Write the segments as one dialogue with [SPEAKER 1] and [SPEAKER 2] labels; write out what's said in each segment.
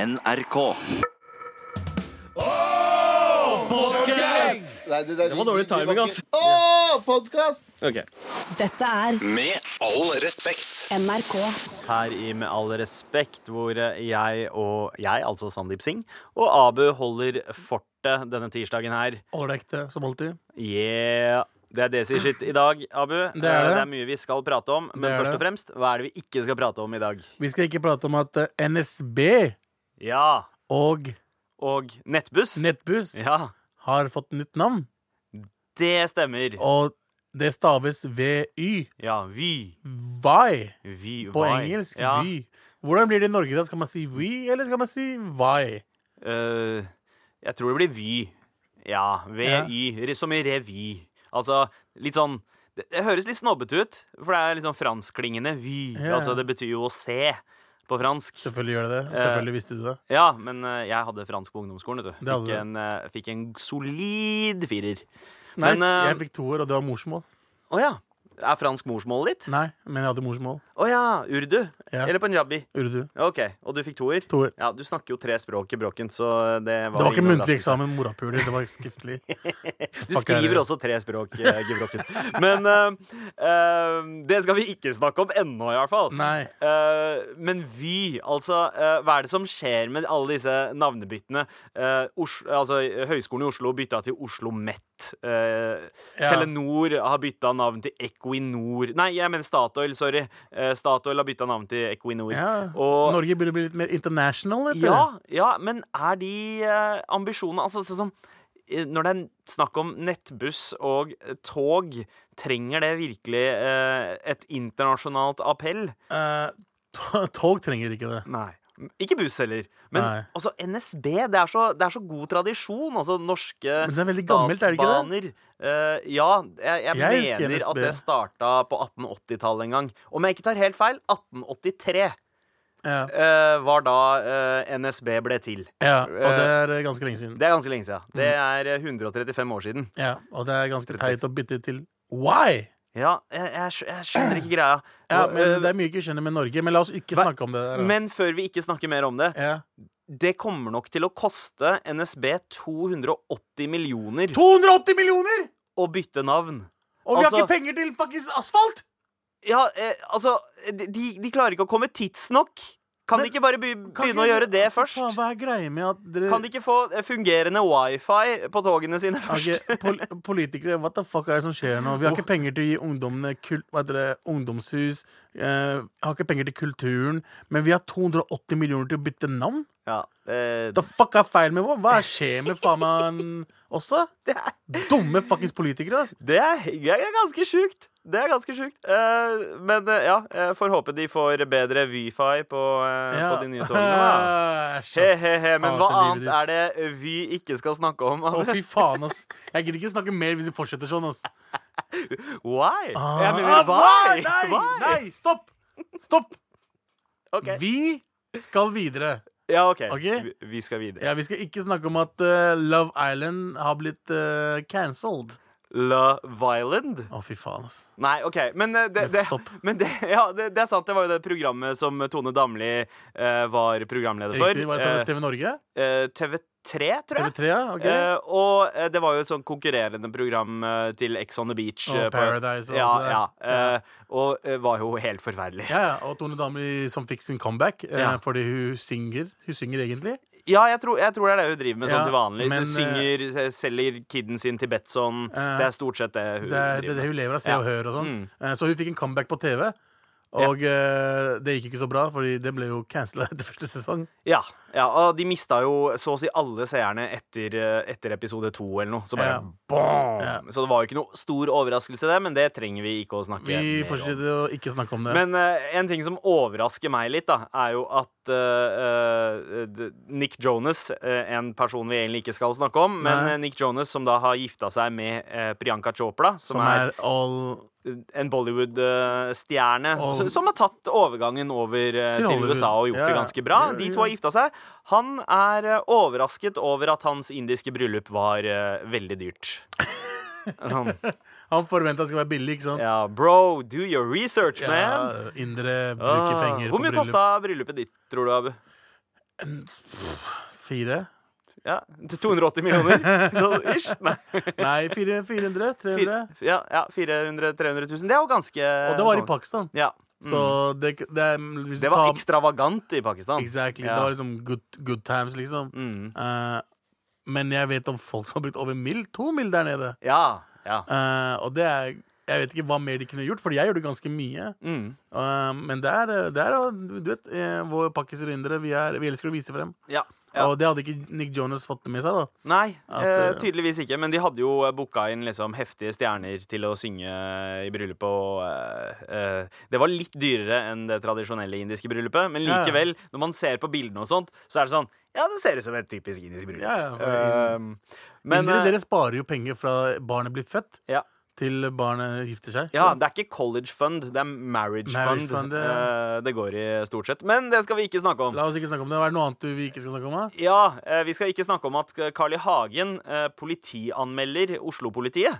[SPEAKER 1] NRK.
[SPEAKER 2] Nei, det, det,
[SPEAKER 3] var dårlig timing, altså.
[SPEAKER 2] Å, podkast!
[SPEAKER 3] Ok.
[SPEAKER 4] Dette er
[SPEAKER 1] Med all respekt.
[SPEAKER 4] NRK.
[SPEAKER 3] Her i Med all respekt, hvor jeg og jeg, altså Sandeep Singh, og Abu holder fortet denne tirsdagen her.
[SPEAKER 5] Ålreite, som alltid.
[SPEAKER 3] Yeah! Det er Desi Shit i dag, Abu. Eh,
[SPEAKER 5] Det er det.
[SPEAKER 3] det er mye vi skal prate om, men
[SPEAKER 5] Det er
[SPEAKER 3] først
[SPEAKER 5] det.
[SPEAKER 3] og fremst, hva er det vi ikke skal prate om i dag?
[SPEAKER 5] Vi skal ikke prate om at eh, NSB
[SPEAKER 3] Ja,
[SPEAKER 5] og
[SPEAKER 3] og Nettbuss.
[SPEAKER 5] Nettbuss
[SPEAKER 3] Ja,
[SPEAKER 5] har fått nytt navn.
[SPEAKER 3] det stemmer.
[SPEAKER 5] Og det staves VY.
[SPEAKER 3] Ja, Vy.
[SPEAKER 5] Vy
[SPEAKER 3] Vy.
[SPEAKER 5] på
[SPEAKER 3] Vy.
[SPEAKER 5] engelsk.
[SPEAKER 3] Ja.
[SPEAKER 5] Vy. Hvordan blir det i Norge? da? Skal man si Vy, eller skal man si Vy?
[SPEAKER 3] Eh, jeg tror det blir Vy. Ja. VY. Som i revy. Altså litt sånn det, det høres litt snobbete ut, for det er litt sånn franskklingende. Vy.
[SPEAKER 5] Ja.
[SPEAKER 3] Altså, det betyr jo å se på fransk.
[SPEAKER 5] Selvfølgelig gjør det det.
[SPEAKER 3] Eh.
[SPEAKER 5] og Selvfølgelig visste du det.
[SPEAKER 3] Ja, men eh, jeg hadde fransk på ungdomsskolen, vet du.
[SPEAKER 5] Det hadde
[SPEAKER 3] Fikk
[SPEAKER 5] du.
[SPEAKER 3] en, eh, fikk en solid firer.
[SPEAKER 5] Nei,
[SPEAKER 3] Men, eh,
[SPEAKER 5] jeg fikk toer, og det var morsmål.
[SPEAKER 3] Å ja. Er fransk morsmålet ditt?
[SPEAKER 5] Nei, men jeg hadde morsmål.
[SPEAKER 3] Å ja. Urdu?
[SPEAKER 5] Ja.
[SPEAKER 3] Eller punjabi?
[SPEAKER 5] Urdu.
[SPEAKER 3] OK. Og du fikk toer?
[SPEAKER 5] Toer.
[SPEAKER 3] Ja, du snakker jo tre språk i bråken, så eh, det var
[SPEAKER 5] Det var ikke
[SPEAKER 3] ingen
[SPEAKER 5] muntlig
[SPEAKER 3] overraskelse.
[SPEAKER 5] eksamen, morapuler. Det var skriftlig.
[SPEAKER 3] Du
[SPEAKER 5] Fuck er
[SPEAKER 3] skriver
[SPEAKER 5] det.
[SPEAKER 3] også tre språk, eh, Gebrokken. Men eh, eh, det skal vi ikke snakke om ennå, i hvert fall.
[SPEAKER 5] Nei.
[SPEAKER 3] Eh, men Vy, altså eh, Hva er det som skjer med alle disse navnebyttene? Eh, Os altså, Høgskolen i Oslo bytta til Oslo Met. Eh,
[SPEAKER 5] Ja.
[SPEAKER 3] Telenor har bytta navn til Equinor Nei, jeg mener Statoil, sorry. Eh, Statoil har bytta navn til Equinor.
[SPEAKER 5] Ja.
[SPEAKER 3] Og-
[SPEAKER 5] Norge burde bli litt mer international. vet du.
[SPEAKER 3] Ja, ja, men er de eh, ambisjonene Altså sånn som eh, når det er snakk om nettbuss og eh, tog, trenger det virkelig eh, et internasjonalt appell?
[SPEAKER 5] Eh, to- tog trenger ikke det.
[SPEAKER 3] Nei. Ikke buss heller. Men
[SPEAKER 5] Nei.
[SPEAKER 3] altså, NSB, det er, så, det er så god tradisjon. Altså norske
[SPEAKER 5] Men det er veldig gammelt, er det ikke
[SPEAKER 3] statsbaner. Eh, ja, jeg, jeg,
[SPEAKER 5] Jeg husker
[SPEAKER 3] mener at
[SPEAKER 5] NSB.
[SPEAKER 3] det starta på 1880-tallet en gang. Om jeg ikke tar helt feil, 1883
[SPEAKER 5] Ja.
[SPEAKER 3] eh, var da eh, NSB ble til.
[SPEAKER 5] Ja, og det er eh, ganske lenge siden. eh,
[SPEAKER 3] Det er ganske lenge siden. Det er 135 år siden.
[SPEAKER 5] Ja, og det er ganske teit å bytte til why.
[SPEAKER 3] Ja, jeg, jeg, skj- jeg skjønner ikke greia.
[SPEAKER 5] Ja,
[SPEAKER 3] Og,
[SPEAKER 5] men
[SPEAKER 3] øh,
[SPEAKER 5] Det er mye jeg ikke skjønner med Norge, men la oss ikke
[SPEAKER 3] hva-
[SPEAKER 5] snakke om det der. da.
[SPEAKER 3] men før vi ikke snakker mer om det
[SPEAKER 5] ja.
[SPEAKER 3] Det kommer nok til å koste NSB 280 millioner
[SPEAKER 5] 280 millioner!
[SPEAKER 3] å bytte navn.
[SPEAKER 5] Og vi
[SPEAKER 3] Altså-
[SPEAKER 5] har ikke penger til fuckings asfalt!
[SPEAKER 3] Ja, eh, altså de, de de klarer ikke å komme tidsnok. Kan
[SPEAKER 5] Men
[SPEAKER 3] de ikke bare by,
[SPEAKER 5] Kan
[SPEAKER 3] begynne å
[SPEAKER 5] ikke-
[SPEAKER 3] gjøre det
[SPEAKER 5] Fy
[SPEAKER 3] først?
[SPEAKER 5] Faen, hva er greia med at dere
[SPEAKER 3] Kan de ikke få eh, fungerende wifi på togene sine først?
[SPEAKER 5] Ok, pol Politikere, what the fuck er det som skjer nå? Vi har ikke penger til å gi ungdommene kul hva heter det, ungdomshus. Eh, har ikke penger til kulturen. Men vi har 280 millioner til å bytte navn?
[SPEAKER 3] Ja, eh,
[SPEAKER 5] The fuck er feil med vår? Hva skjer med faen meg også?
[SPEAKER 3] det er
[SPEAKER 5] Dumme fuckings politikere, altså.
[SPEAKER 3] Det er, det er ganske sjukt. Det er ganske sjukt. Eh, men eh, ja, jeg får håpe de får bedre Wi-Fi på, eh, på de nye togene. da.
[SPEAKER 5] Æsj,
[SPEAKER 3] He,
[SPEAKER 5] ass.
[SPEAKER 3] he, he. Men hva
[SPEAKER 5] Hater livet
[SPEAKER 3] annet er det vi ikke skal snakke om?
[SPEAKER 5] Å, fy faen, ass. Jeg gidder ikke snakke mer hvis du fortsetter sånn, ass.
[SPEAKER 3] Why? Jeg
[SPEAKER 5] Ah,
[SPEAKER 3] mener why?
[SPEAKER 5] Nei,
[SPEAKER 3] Why?
[SPEAKER 5] nei, stopp! Stopp!
[SPEAKER 3] Ok.
[SPEAKER 5] Vi skal videre.
[SPEAKER 3] Ja, OK.
[SPEAKER 5] Ok.
[SPEAKER 3] Vi, vi skal videre.
[SPEAKER 5] Ja, vi skal ikke snakke om at eh, Love Island har blitt uh, cancelled.
[SPEAKER 3] Love Island?
[SPEAKER 5] Å, fy faen, ass.
[SPEAKER 3] Nei, OK. Men, eh, det,
[SPEAKER 5] Men
[SPEAKER 3] det,
[SPEAKER 5] stopp.
[SPEAKER 3] men det, ja, det, det er sant. Det var jo det programmet som Tone Damli eh, var programleder for.
[SPEAKER 5] Riktig, var det TV Norge?
[SPEAKER 3] Eh, eh, TV3, tror jeg.
[SPEAKER 5] TV3, ja? Ok.
[SPEAKER 3] Eh, og eh, det var jo et sånn konkurrerende program eh, til Ex on the Beach.
[SPEAKER 5] Og
[SPEAKER 3] eh,
[SPEAKER 5] Paradise og
[SPEAKER 3] ja,
[SPEAKER 5] alt det der.
[SPEAKER 3] ja, eh, Og eh, var jo helt forferdelig.
[SPEAKER 5] Ja, ja, og Tone Damli som fikk sin comeback eh,
[SPEAKER 3] Ja.
[SPEAKER 5] fordi hun synger. Hun synger egentlig.
[SPEAKER 3] Ja, jeg tror, jeg tror det er det hun driver med
[SPEAKER 5] Ja,
[SPEAKER 3] sånn til vanlig.
[SPEAKER 5] men,
[SPEAKER 3] Hun synger, eh, selger kiden sin til Betson.
[SPEAKER 5] Eh,
[SPEAKER 3] det er stort sett det hun
[SPEAKER 5] Det er det, er
[SPEAKER 3] driver
[SPEAKER 5] det
[SPEAKER 3] med.
[SPEAKER 5] hun lever av. Se
[SPEAKER 3] Ja.
[SPEAKER 5] og hør og sånn.
[SPEAKER 3] Mm.
[SPEAKER 5] Eh, Så hun fikk en comeback på TV. Og eh, det gikk ikke så bra, Fordi det ble jo cancela etter første sesong.
[SPEAKER 3] Ja, ja, og de mista jo så å si alle seerne etter, eh, etter episode to eller noe. Så bare
[SPEAKER 5] Ja.
[SPEAKER 3] boom!
[SPEAKER 5] Ja.
[SPEAKER 3] Så det var jo ikke noe stor overraskelse, det, men det trenger vi ikke å snakke
[SPEAKER 5] Vi
[SPEAKER 3] mer om.
[SPEAKER 5] fortsetter å ikke snakke om det.
[SPEAKER 3] Men eh, en ting som overrasker meg litt, da, er jo at eh, eh, d- Nick Jonas, eh, en person vi egentlig ikke skal snakke om, men
[SPEAKER 5] Nei.
[SPEAKER 3] eh, Nick Jonas som da har gifta seg med eh, Priyanka Chopra, som,
[SPEAKER 5] som
[SPEAKER 3] er,
[SPEAKER 5] er all
[SPEAKER 3] en Bollywood-stjerne
[SPEAKER 5] Og-
[SPEAKER 3] som, som har tatt overgangen over eh,
[SPEAKER 5] Til
[SPEAKER 3] til,
[SPEAKER 5] Hollywood.
[SPEAKER 3] USA og gjort
[SPEAKER 5] Ja,
[SPEAKER 3] det
[SPEAKER 5] ja.
[SPEAKER 3] ganske bra.
[SPEAKER 5] Ja, ja.
[SPEAKER 3] De to har gifta seg. Han er eh, overrasket over at hans indiske bryllup var eh, veldig dyrt. Sånn,
[SPEAKER 5] Han forventa det skal være billig, ikke sant?
[SPEAKER 3] ja, bro, do your research, man!
[SPEAKER 5] indre bruker
[SPEAKER 3] Ah,
[SPEAKER 5] penger
[SPEAKER 3] Hvor mye
[SPEAKER 5] på bryllup.
[SPEAKER 3] kosta bryllupet ditt, tror du, Abu?
[SPEAKER 5] Fire?
[SPEAKER 3] Ja, til 280 millioner? Så, ish. Nei.
[SPEAKER 5] Nei, fire, 400? 300?
[SPEAKER 3] Fire- Ja, ja 400-300 000. Det er jo ganske
[SPEAKER 5] Og det var i Pakistan.
[SPEAKER 3] Ja. Mm.
[SPEAKER 5] Så det, det er hvis
[SPEAKER 3] Det
[SPEAKER 5] du
[SPEAKER 3] var
[SPEAKER 5] tar-
[SPEAKER 3] ekstravagant i Pakistan.
[SPEAKER 5] Exactly.
[SPEAKER 3] Ja.
[SPEAKER 5] Det var liksom good, good times, liksom.
[SPEAKER 3] Mm.
[SPEAKER 5] Eh, men jeg vet om folk som har brukt over mil, to mil der nede.
[SPEAKER 3] Ja. ja.
[SPEAKER 5] Eh, og det er Jeg vet ikke hva mer de kunne gjort, for jeg gjør det ganske mye.
[SPEAKER 3] Mm.
[SPEAKER 5] Eh, men det er, det er Du vet, eh, våre pakkiser og indere, vi, er, vi elsker å vise frem.
[SPEAKER 3] ja. ja.
[SPEAKER 5] Og det hadde ikke Nick Jonas fått med seg, da.
[SPEAKER 3] Nei,
[SPEAKER 5] At,
[SPEAKER 3] eh,
[SPEAKER 5] eh,
[SPEAKER 3] tydeligvis ikke. Men de hadde jo booka inn liksom heftige stjerner til å synge i bryllupet. Og, eh, eh, det var litt dyrere enn det tradisjonelle indiske bryllupet. Men
[SPEAKER 5] Ja, ja.
[SPEAKER 3] likevel, når man ser på bildene og sånt, så er det sånn Ja, det ser ut som et typisk indisk bryllup.
[SPEAKER 5] Ja, ja, for
[SPEAKER 3] Eh,
[SPEAKER 5] Men
[SPEAKER 3] men eh,
[SPEAKER 5] dere sparer jo penger fra barnet blir født,
[SPEAKER 3] ja.
[SPEAKER 5] til barnet gifter seg.
[SPEAKER 3] Ja, det er ikke college fund, det er marriage,
[SPEAKER 5] Marriage
[SPEAKER 3] fund.
[SPEAKER 5] fund, ja.
[SPEAKER 3] Eh, det går i stort sett. Men det skal vi ikke snakke om.
[SPEAKER 5] La oss ikke snakke om det. Er det noe annet du- vi ikke skal snakke om? da?
[SPEAKER 3] Ja, eh, Vi skal ikke snakke om at Carl I. Hagen eh, politianmelder Oslo-politiet.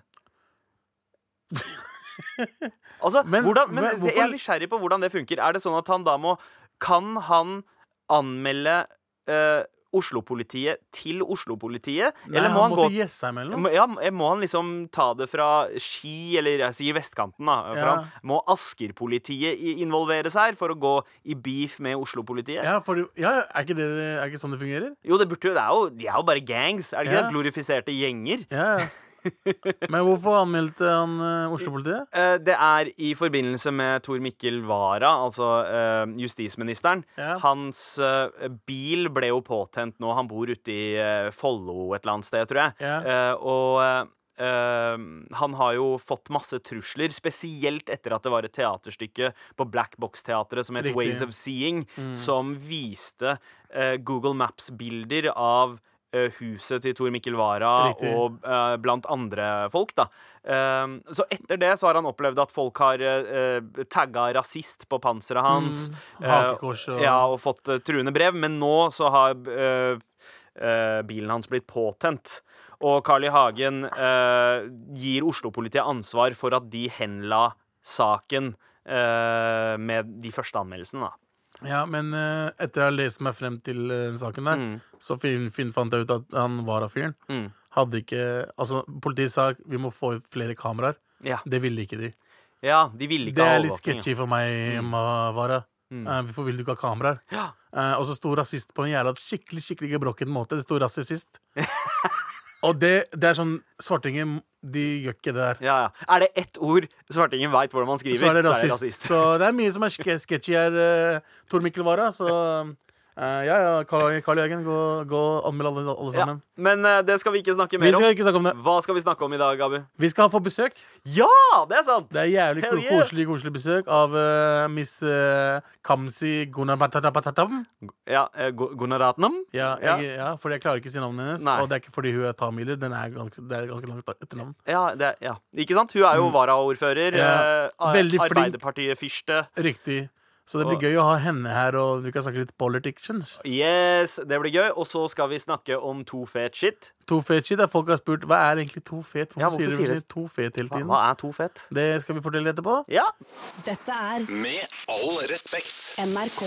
[SPEAKER 3] altså,
[SPEAKER 5] Men-
[SPEAKER 3] hvordan, men,
[SPEAKER 5] men
[SPEAKER 3] det- jeg er
[SPEAKER 5] hvorfor-
[SPEAKER 3] nysgjerrig på hvordan det funker. Er det sånn at han da må Kan han anmelde eh, Oslo-politiet til Oslo-politiet?
[SPEAKER 5] Nei,
[SPEAKER 3] Eller
[SPEAKER 5] han,
[SPEAKER 3] må han,
[SPEAKER 5] måtte
[SPEAKER 3] gå
[SPEAKER 5] gjesse seg mellom.
[SPEAKER 3] må- ja, må han liksom ta det fra Ski, eller jeg sier vestkanten, da? For
[SPEAKER 5] Ja.
[SPEAKER 3] han, må Asker-politiet i- involveres her for å gå i beef med Oslo-politiet?
[SPEAKER 5] Ja, for, det- ja, er ikke det er ikke sånn det fungerer?
[SPEAKER 3] Jo, det burde jo, det er jo, de er jo bare gangs. Er det ikke
[SPEAKER 5] Ja.
[SPEAKER 3] det? Glorifiserte gjenger.
[SPEAKER 5] Ja, ja. Men hvorfor anmeldte han eh, Oslo-politiet?
[SPEAKER 3] Eh, Det er i forbindelse med Tor Mikkel Wara, altså eh, justisministeren.
[SPEAKER 5] Ja.
[SPEAKER 3] Hans eh, bil ble jo påtent nå. Han bor ute i eh, Follo et eller annet sted, tror jeg.
[SPEAKER 5] Ja.
[SPEAKER 3] Eh, og eh, eh, han har jo fått masse trusler, spesielt etter at det var et teaterstykke på Black Box-teatret som het
[SPEAKER 5] Riktig.
[SPEAKER 3] Ways of Seeing,
[SPEAKER 5] Mm.
[SPEAKER 3] som viste eh, Google Maps-bilder av eh, Huset til Tor Mikkel Wara
[SPEAKER 5] Riktig.
[SPEAKER 3] og eh, blant andre folk, da. Ehm, så etter det så har han opplevd at folk har uh, tagga rasist på panseret hans. eh,
[SPEAKER 5] hakekors Mm. og-
[SPEAKER 3] Ja, og fått eh, truende brev. Men nå så har eh, eh, bilen hans blitt påtent. Og Carl I. Hagen eh, gir Oslo-politiet ansvar for at de henla saken eh, med de første anmeldelsene, da.
[SPEAKER 5] Ja, men eh, etter jeg har lest meg frem til eh, saken der,
[SPEAKER 3] Mm.
[SPEAKER 5] så fin, fin, fant jeg ut at han var av fyren. Hadde ikke Altså, politiet sa vi må få ut flere kameraer.
[SPEAKER 3] Ja,
[SPEAKER 5] Det ville ikke de.
[SPEAKER 3] ja de ville ikke
[SPEAKER 5] Det
[SPEAKER 3] ha
[SPEAKER 5] er litt
[SPEAKER 3] overvåkning.
[SPEAKER 5] sketchy for meg, Mavara. Eh, hvorfor vil du ikke ha kameraer?
[SPEAKER 3] Ja.
[SPEAKER 5] Eh, og så sto rasist på en jævla skikkelig skikkelig gebrokken måte. Det sto rasist. og det, det er sånn Svartinger, de gjør ikke det der.
[SPEAKER 3] Ja, ja. Er det ett ord svartingen veit hvordan man skriver,
[SPEAKER 5] så er det rasist. Så det er mye som er ske- sketchy her, uh, Tor Mikkel Wara. Så eh, ja, ja, Karl, Karl Jørgen, gå, gå og anmeld alle, alle
[SPEAKER 3] Ja.
[SPEAKER 5] sammen.
[SPEAKER 3] Men eh, det skal vi ikke snakke
[SPEAKER 5] Vi
[SPEAKER 3] mer
[SPEAKER 5] skal
[SPEAKER 3] om.
[SPEAKER 5] ikke snakke om det.
[SPEAKER 3] Hva skal vi snakke om i dag, Abu?
[SPEAKER 5] Vi skal få besøk.
[SPEAKER 3] Ja, det er sant!
[SPEAKER 5] Det er jævlig
[SPEAKER 3] Hell
[SPEAKER 5] ko-
[SPEAKER 3] yeah.
[SPEAKER 5] koselig koselig besøk av eh, miss eh, Kamsi Gunabatatam.
[SPEAKER 3] Ja, eh, Gu- Gunaratnam?
[SPEAKER 5] Ja,
[SPEAKER 3] Ja.
[SPEAKER 5] jeg, ja, fordi jeg klarer ikke å si navnet hennes.
[SPEAKER 3] Nei.
[SPEAKER 5] Og det er ikke fordi hun er tamiler. Den er ganske, det er ganske langt etternavn.
[SPEAKER 3] Ja, det, ja. Ikke sant? Hun er jo varaordfører.
[SPEAKER 5] Mm. Ja,
[SPEAKER 3] eh, ar-
[SPEAKER 5] veldig flink.
[SPEAKER 3] Arbeiderpartiet-fyrste.
[SPEAKER 5] Riktig. Så det blir
[SPEAKER 3] Og-
[SPEAKER 5] gøy å ha henne her, og vi kan snakke litt politics.
[SPEAKER 3] Yes, det blir gøy. Og så skal vi snakke om to fet shit.
[SPEAKER 5] To fet shit. der Folk har spurt hva er egentlig to fet. Hvorfor,
[SPEAKER 3] Ja, hvorfor
[SPEAKER 5] sier
[SPEAKER 3] sier
[SPEAKER 5] dere
[SPEAKER 3] dere-
[SPEAKER 5] to fet hele
[SPEAKER 3] Hva,
[SPEAKER 5] tiden?
[SPEAKER 3] hva er to fet?
[SPEAKER 5] Det skal vi fortelle etterpå.
[SPEAKER 3] Ja,
[SPEAKER 4] Dette er
[SPEAKER 1] Med all respekt.
[SPEAKER 4] NRK.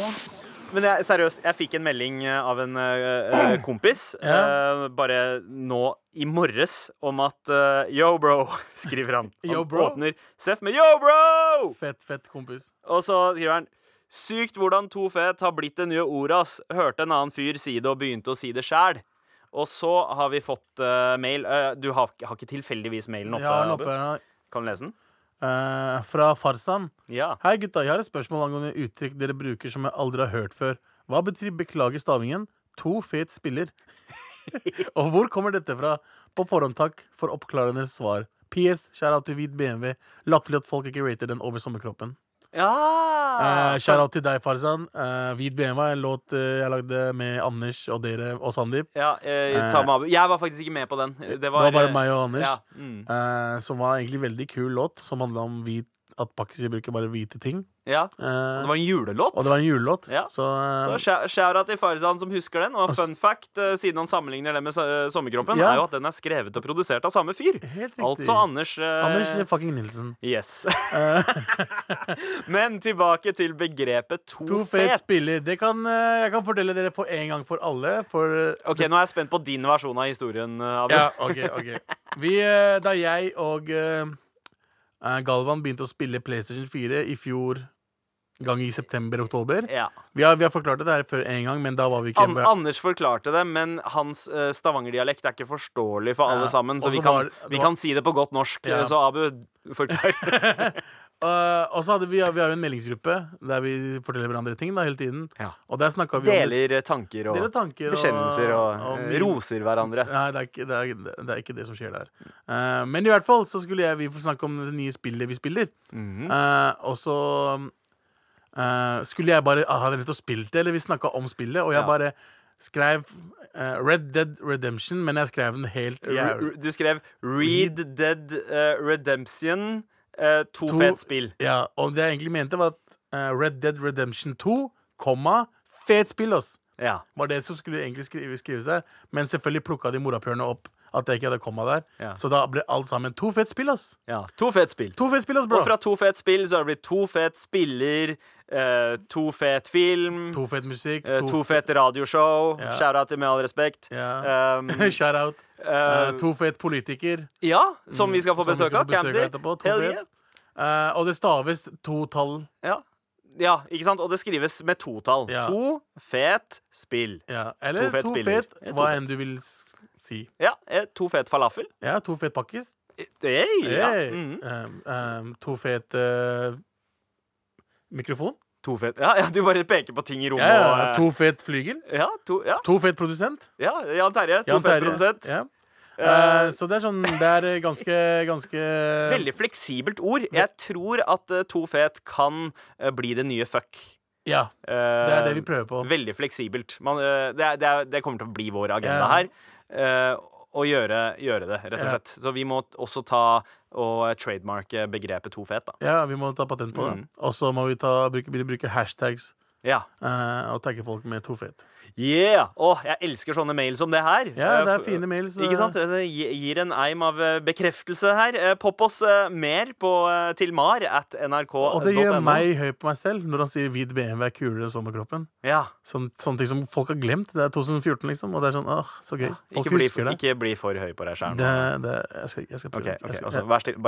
[SPEAKER 3] Men jeg, seriøst, jeg fikk en melding eh, av en eh, eh, kompis
[SPEAKER 5] Ja.
[SPEAKER 3] eh, bare nå i morges om at eh, Yo, bro, skriver han. Han
[SPEAKER 5] Yo, bro.
[SPEAKER 3] åpner Seff med Yo, bro!
[SPEAKER 5] Fett, fett kompis.
[SPEAKER 3] Og så skriver han Sykt hvordan to fet har blitt det nye ordet, ass. Hørte en annen fyr si det og begynte å si det sjæl. Og så har vi fått eh, mail. Eh, du har, har ikke tilfeldigvis mailen oppe?
[SPEAKER 5] Jeg har den oppe
[SPEAKER 3] Abu?
[SPEAKER 5] her nå.
[SPEAKER 3] Kan du lese den?
[SPEAKER 5] Eh, fra Farsan.
[SPEAKER 3] Ja.
[SPEAKER 5] Hei, gutta. Jeg har et spørsmål angående uttrykk dere bruker som jeg aldri har hørt før. Hva betyr 'beklager stavingen'? To fet spiller. Og hvor kommer dette fra? På forhånd takk for oppklarende svar. PS, shout out til hvit BMW. Latterlig at folk ikke rater den over sommerkroppen.
[SPEAKER 3] ja. Ah,
[SPEAKER 5] Uh, shout out til deg, Farsan. Eh, hvit BMW er en låt eh, jeg lagde med Anders og dere og Sandeep.
[SPEAKER 3] ja eh, ta med Abu. Jeg var faktisk ikke med på den. Det var,
[SPEAKER 5] Eh, det var bare meg og Anders.
[SPEAKER 3] Ja, mm.
[SPEAKER 5] eh, som var egentlig veldig kul låt, som handla om hvit, at pakkiser bruker bare hvite ting.
[SPEAKER 3] Ja.
[SPEAKER 5] Eh,
[SPEAKER 3] Det var en julelåt.
[SPEAKER 5] og det var en julelåt.
[SPEAKER 3] Ja.
[SPEAKER 5] Så, eh,
[SPEAKER 3] Så skjæ- skjæra til Farzan som husker den. Og
[SPEAKER 5] Altså-
[SPEAKER 3] fun fact, eh, siden han sammenligner det med so- eh, Sommerkroppen,
[SPEAKER 5] Ja.
[SPEAKER 3] er jo at den er skrevet og produsert av samme fyr.
[SPEAKER 5] Helt riktig.
[SPEAKER 3] Altså Anders eh,
[SPEAKER 5] Anders fucking Nilsen.
[SPEAKER 3] Yes.
[SPEAKER 5] Eh,
[SPEAKER 3] Men tilbake til begrepet to,
[SPEAKER 5] to fet spiller. Det kan eh, jeg kan fortelle dere for en gang for alle. For eh,
[SPEAKER 3] Ok, Nå er jeg spent på din versjon av historien. eh, Abu.
[SPEAKER 5] Ja, ok, ok Vi, eh, Da jeg og eh, eh, Galvan begynte å spille PlayStation 4 i fjor gang i september-oktober
[SPEAKER 3] Ja.
[SPEAKER 5] vi, har- vi har forklart dette her før en gang, men da var vi ikke
[SPEAKER 3] An Anders forklarte det, men hans eh, stavangerdialekt er ikke forståelig for alle
[SPEAKER 5] Ja,
[SPEAKER 3] sammen. Så
[SPEAKER 5] og
[SPEAKER 3] vi
[SPEAKER 5] så
[SPEAKER 3] kan,
[SPEAKER 5] var det- det
[SPEAKER 3] vi
[SPEAKER 5] var-
[SPEAKER 3] kan si det på godt norsk. eh,
[SPEAKER 5] Ja.
[SPEAKER 3] Så Abu, forklar.
[SPEAKER 5] Eh, Og så hadde vi, vi har jo en meldingsgruppe der vi forteller hverandre ting da hele tiden.
[SPEAKER 3] Ja.
[SPEAKER 5] Og der snakka vi om
[SPEAKER 3] Deler tanker og
[SPEAKER 5] Deler tanker og-
[SPEAKER 3] bekjennelser og,
[SPEAKER 5] og
[SPEAKER 3] eh,
[SPEAKER 5] min-
[SPEAKER 3] roser hverandre.
[SPEAKER 5] Nei, det er, ikke, det, er, det er ikke det som skjer der. Eh, men i hvert fall så skulle jeg, vi få snakke om det nye spillet vi spiller.
[SPEAKER 3] Mhm.
[SPEAKER 5] Eh, og så eh, skulle jeg bare ah, Hadde jeg nettopp spilt det, eller vi snakka om spillet, og jeg
[SPEAKER 3] Ja.
[SPEAKER 5] bare skrev eh, Red Dead Redemption, men jeg skrev den helt
[SPEAKER 3] Re-
[SPEAKER 5] jævlig.
[SPEAKER 3] re- Du skrev 'Read Dead eh, Redemption'. eh, to,
[SPEAKER 5] To-
[SPEAKER 3] fet spill.
[SPEAKER 5] Ja, og det jeg egentlig mente, var at eh, Red Dead Redemption 2, komma, fet spill, ass.
[SPEAKER 3] Ja.
[SPEAKER 5] var det som skulle egentlig skrive, skrives der. Men selvfølgelig plukka de morapulerne opp at jeg ikke hadde komma der.
[SPEAKER 3] Ja.
[SPEAKER 5] Så da ble alt sammen to fett spill, ass.
[SPEAKER 3] ja. To fet spill.
[SPEAKER 5] To fett spill, ass, bro.
[SPEAKER 3] Og fra to fet spill så har det blitt to fet spiller, eh, to fet film,
[SPEAKER 5] To fett musikk.
[SPEAKER 3] eh, to fet radioshow.
[SPEAKER 5] Ja.
[SPEAKER 3] Shout-out til Med all respekt.
[SPEAKER 5] Ja.
[SPEAKER 3] Um,
[SPEAKER 5] Shout out.
[SPEAKER 3] eh,
[SPEAKER 5] Eh, to fett politiker.
[SPEAKER 3] ja, som vi skal få
[SPEAKER 5] som vi
[SPEAKER 3] besøk
[SPEAKER 5] skal
[SPEAKER 3] av.
[SPEAKER 5] få besøk
[SPEAKER 3] Camzy.
[SPEAKER 5] av etterpå, to
[SPEAKER 3] Hell
[SPEAKER 5] fet.
[SPEAKER 3] yeah.
[SPEAKER 5] Eh, og det staves to tall.
[SPEAKER 3] Ja. ja, ikke sant? Og det skrives med totall.
[SPEAKER 5] Ja.
[SPEAKER 3] To fet spill.
[SPEAKER 5] Ja. Eller
[SPEAKER 3] To fett
[SPEAKER 5] to
[SPEAKER 3] spiller.
[SPEAKER 5] fett,
[SPEAKER 3] Ja, to
[SPEAKER 5] hva
[SPEAKER 3] fett.
[SPEAKER 5] enn du vil s- si.
[SPEAKER 3] Ja, eh, to fet falafel.
[SPEAKER 5] Ja, to fett pakkis.
[SPEAKER 3] Hey, ja.
[SPEAKER 5] Hey.
[SPEAKER 3] mhm.
[SPEAKER 5] Um, um, to fett eh, mikrofon.
[SPEAKER 3] To fet ja, ja, du bare peker på ting i rommet.
[SPEAKER 5] Ja, ja,
[SPEAKER 3] og, eh,
[SPEAKER 5] to fett flygel.
[SPEAKER 3] Ja, to, ja,
[SPEAKER 5] To fett produsent.
[SPEAKER 3] ja, Jan Terje. To
[SPEAKER 5] Jan
[SPEAKER 3] fet
[SPEAKER 5] Terje.
[SPEAKER 3] produsent.
[SPEAKER 5] Ja.
[SPEAKER 3] Eh,
[SPEAKER 5] Eh, så det er sånn Det er eh, ganske, ganske
[SPEAKER 3] Veldig fleksibelt ord. Jeg tror at eh, to fet kan eh, bli det nye fuck. Eh,
[SPEAKER 5] Ja. Det er det vi prøver på.
[SPEAKER 3] Veldig fleksibelt. Man, eh, det, er- det, er, det kommer til å bli vår agenda
[SPEAKER 5] Ja.
[SPEAKER 3] her. eh, å gjøre, gjøre det, rett og
[SPEAKER 5] Ja.
[SPEAKER 3] slett. Så vi må også ta og trademarke begrepet to fet, da.
[SPEAKER 5] Ja, vi må ta patent på det.
[SPEAKER 3] Mm.
[SPEAKER 5] Og så må vi ta, bruke, bruke hashtags
[SPEAKER 3] Ja.
[SPEAKER 5] eh, og tagge folk med tofet.
[SPEAKER 3] Yeah! Åh, jeg elsker sånne mail som det her.
[SPEAKER 5] Ja,
[SPEAKER 3] Eh,
[SPEAKER 5] det er
[SPEAKER 3] f-
[SPEAKER 5] fine mails. eh.
[SPEAKER 3] Ikke sant? Det gi- gir en eim av eh, bekreftelse her. Eh, Popp oss eh, mer på, eh, til mar at nrk.no.
[SPEAKER 5] Og det gjør meg høy på meg selv når han sier hvit BMW er kulere enn sommerkroppen.
[SPEAKER 3] ja.
[SPEAKER 5] Sånn, sånne ting som folk har glemt. Det er 2014, liksom. Og det er sånn, åh, så gøy. Folk
[SPEAKER 3] Ikke bli,
[SPEAKER 5] husker det.
[SPEAKER 3] ikke bli for høy på deg sjæl.
[SPEAKER 5] det, det jeg, skal, jeg skal prøve. Jeg skal,
[SPEAKER 3] bare altså,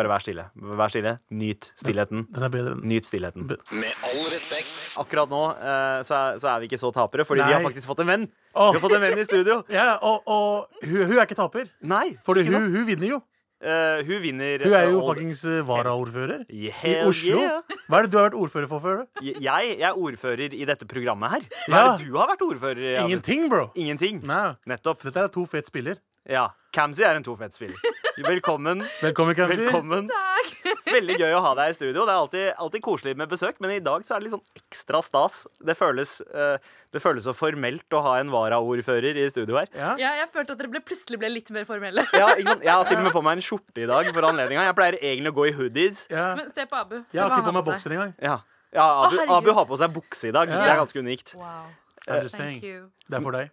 [SPEAKER 3] vær stille. Vær stille. Nyt stillheten.
[SPEAKER 5] Den er bedre enn
[SPEAKER 3] Nyt stillheten.
[SPEAKER 1] Med all respekt.
[SPEAKER 3] Akkurat nå eh, så, er, så er vi ikke så tapere, fordi vi
[SPEAKER 5] Nei.
[SPEAKER 3] har faktisk fått en venn.
[SPEAKER 5] Åh.
[SPEAKER 3] Vi har fått en venn i studio.
[SPEAKER 5] Ja, og, og hun, hun er ikke taper.
[SPEAKER 3] Nei,
[SPEAKER 5] For
[SPEAKER 3] ikke
[SPEAKER 5] hun,
[SPEAKER 3] sant?
[SPEAKER 5] hun vinner jo.
[SPEAKER 3] Eh, hun vinner
[SPEAKER 5] Hun er
[SPEAKER 3] eh,
[SPEAKER 5] jo
[SPEAKER 3] all-
[SPEAKER 5] fuckings eh, varaordfører. I
[SPEAKER 3] Hell
[SPEAKER 5] Oslo?
[SPEAKER 3] yeah.
[SPEAKER 5] Hva er det du har vært ordfører for før? du?
[SPEAKER 3] Jeg, jeg er ordfører i dette programmet her. Hva
[SPEAKER 5] Ja.
[SPEAKER 3] er det du har vært ordfører i? Abu?
[SPEAKER 5] Ingenting, bro!
[SPEAKER 3] Ingenting.
[SPEAKER 5] Nei.
[SPEAKER 3] Nettopp.
[SPEAKER 5] Dette er to fete spiller.
[SPEAKER 3] Ja. Camzy er en tofettspiller. Velkommen.
[SPEAKER 5] Velkommen, Kamsi.
[SPEAKER 3] Velkommen. Veldig gøy å ha deg i studio. Det er alltid, alltid koselig med besøk, men i dag så er det litt sånn ekstra stas. Det føles, eh, det føles så formelt å ha en varaordfører i studio her.
[SPEAKER 5] Ja.
[SPEAKER 4] Ja, jeg følte at dere ble, plutselig ble litt mer formelle.
[SPEAKER 3] Ja, ikke sant? Jeg har til og med på meg en skjorte i dag for anledninga. Jeg pleier egentlig å gå i hoodies.
[SPEAKER 5] Ja.
[SPEAKER 4] Men se på Abu. Se
[SPEAKER 5] Jeg har
[SPEAKER 4] hva
[SPEAKER 5] ikke på
[SPEAKER 4] han
[SPEAKER 5] meg
[SPEAKER 4] har på seg.
[SPEAKER 5] bokser engang.
[SPEAKER 3] Ja. Ja, Abu,
[SPEAKER 4] herregud.
[SPEAKER 3] Abu har på seg bukse i dag.
[SPEAKER 5] Ja.
[SPEAKER 3] Det er ganske unikt.
[SPEAKER 4] Wow,
[SPEAKER 5] I'm just
[SPEAKER 4] thank
[SPEAKER 5] saying.
[SPEAKER 4] you.
[SPEAKER 5] Det er for deg.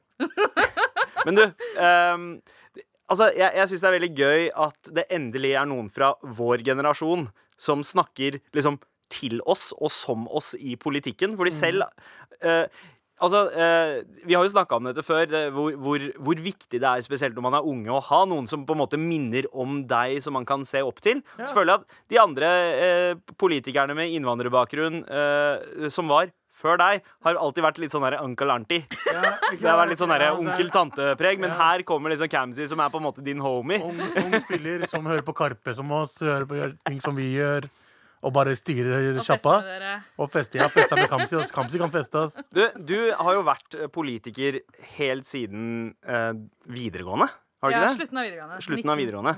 [SPEAKER 3] Men du, ehm, altså, jeg, jeg syns det er veldig gøy at det endelig er noen fra vår generasjon som snakker liksom til oss og som oss i politikken. Fordi selv eh, Altså, eh, Vi har jo snakka om dette før, det, hvor, hvor, hvor viktig det er, spesielt når man er unge, å ha noen som på en måte minner om deg, som man kan se opp til. Så føler jeg at de andre eh, politikerne med innvandrerbakgrunn eh, som var før deg, har alltid vært litt sånn der uncle auntie. Det har vært litt sånn der
[SPEAKER 4] altså,
[SPEAKER 3] onkel-tante-preg, men
[SPEAKER 5] Ja.
[SPEAKER 3] her kommer liksom Camzy, som er på en måte din homie.
[SPEAKER 5] Ung, ung spiller som hører på Karpe som oss, hører på gjør ting som vi gjør, og bare styrer
[SPEAKER 4] Og
[SPEAKER 5] sjappa.
[SPEAKER 4] feste med dere.
[SPEAKER 5] Og fester. Jeg har festa med Kamsi. ass. Kamsi kan feste, ass.
[SPEAKER 3] Du, du har jo vært eh, politiker helt siden eh, videregående, har du
[SPEAKER 4] Ja,
[SPEAKER 3] ikke det?
[SPEAKER 4] slutten av Mm. videregående.
[SPEAKER 3] Slutten av
[SPEAKER 4] 19.
[SPEAKER 3] videregående.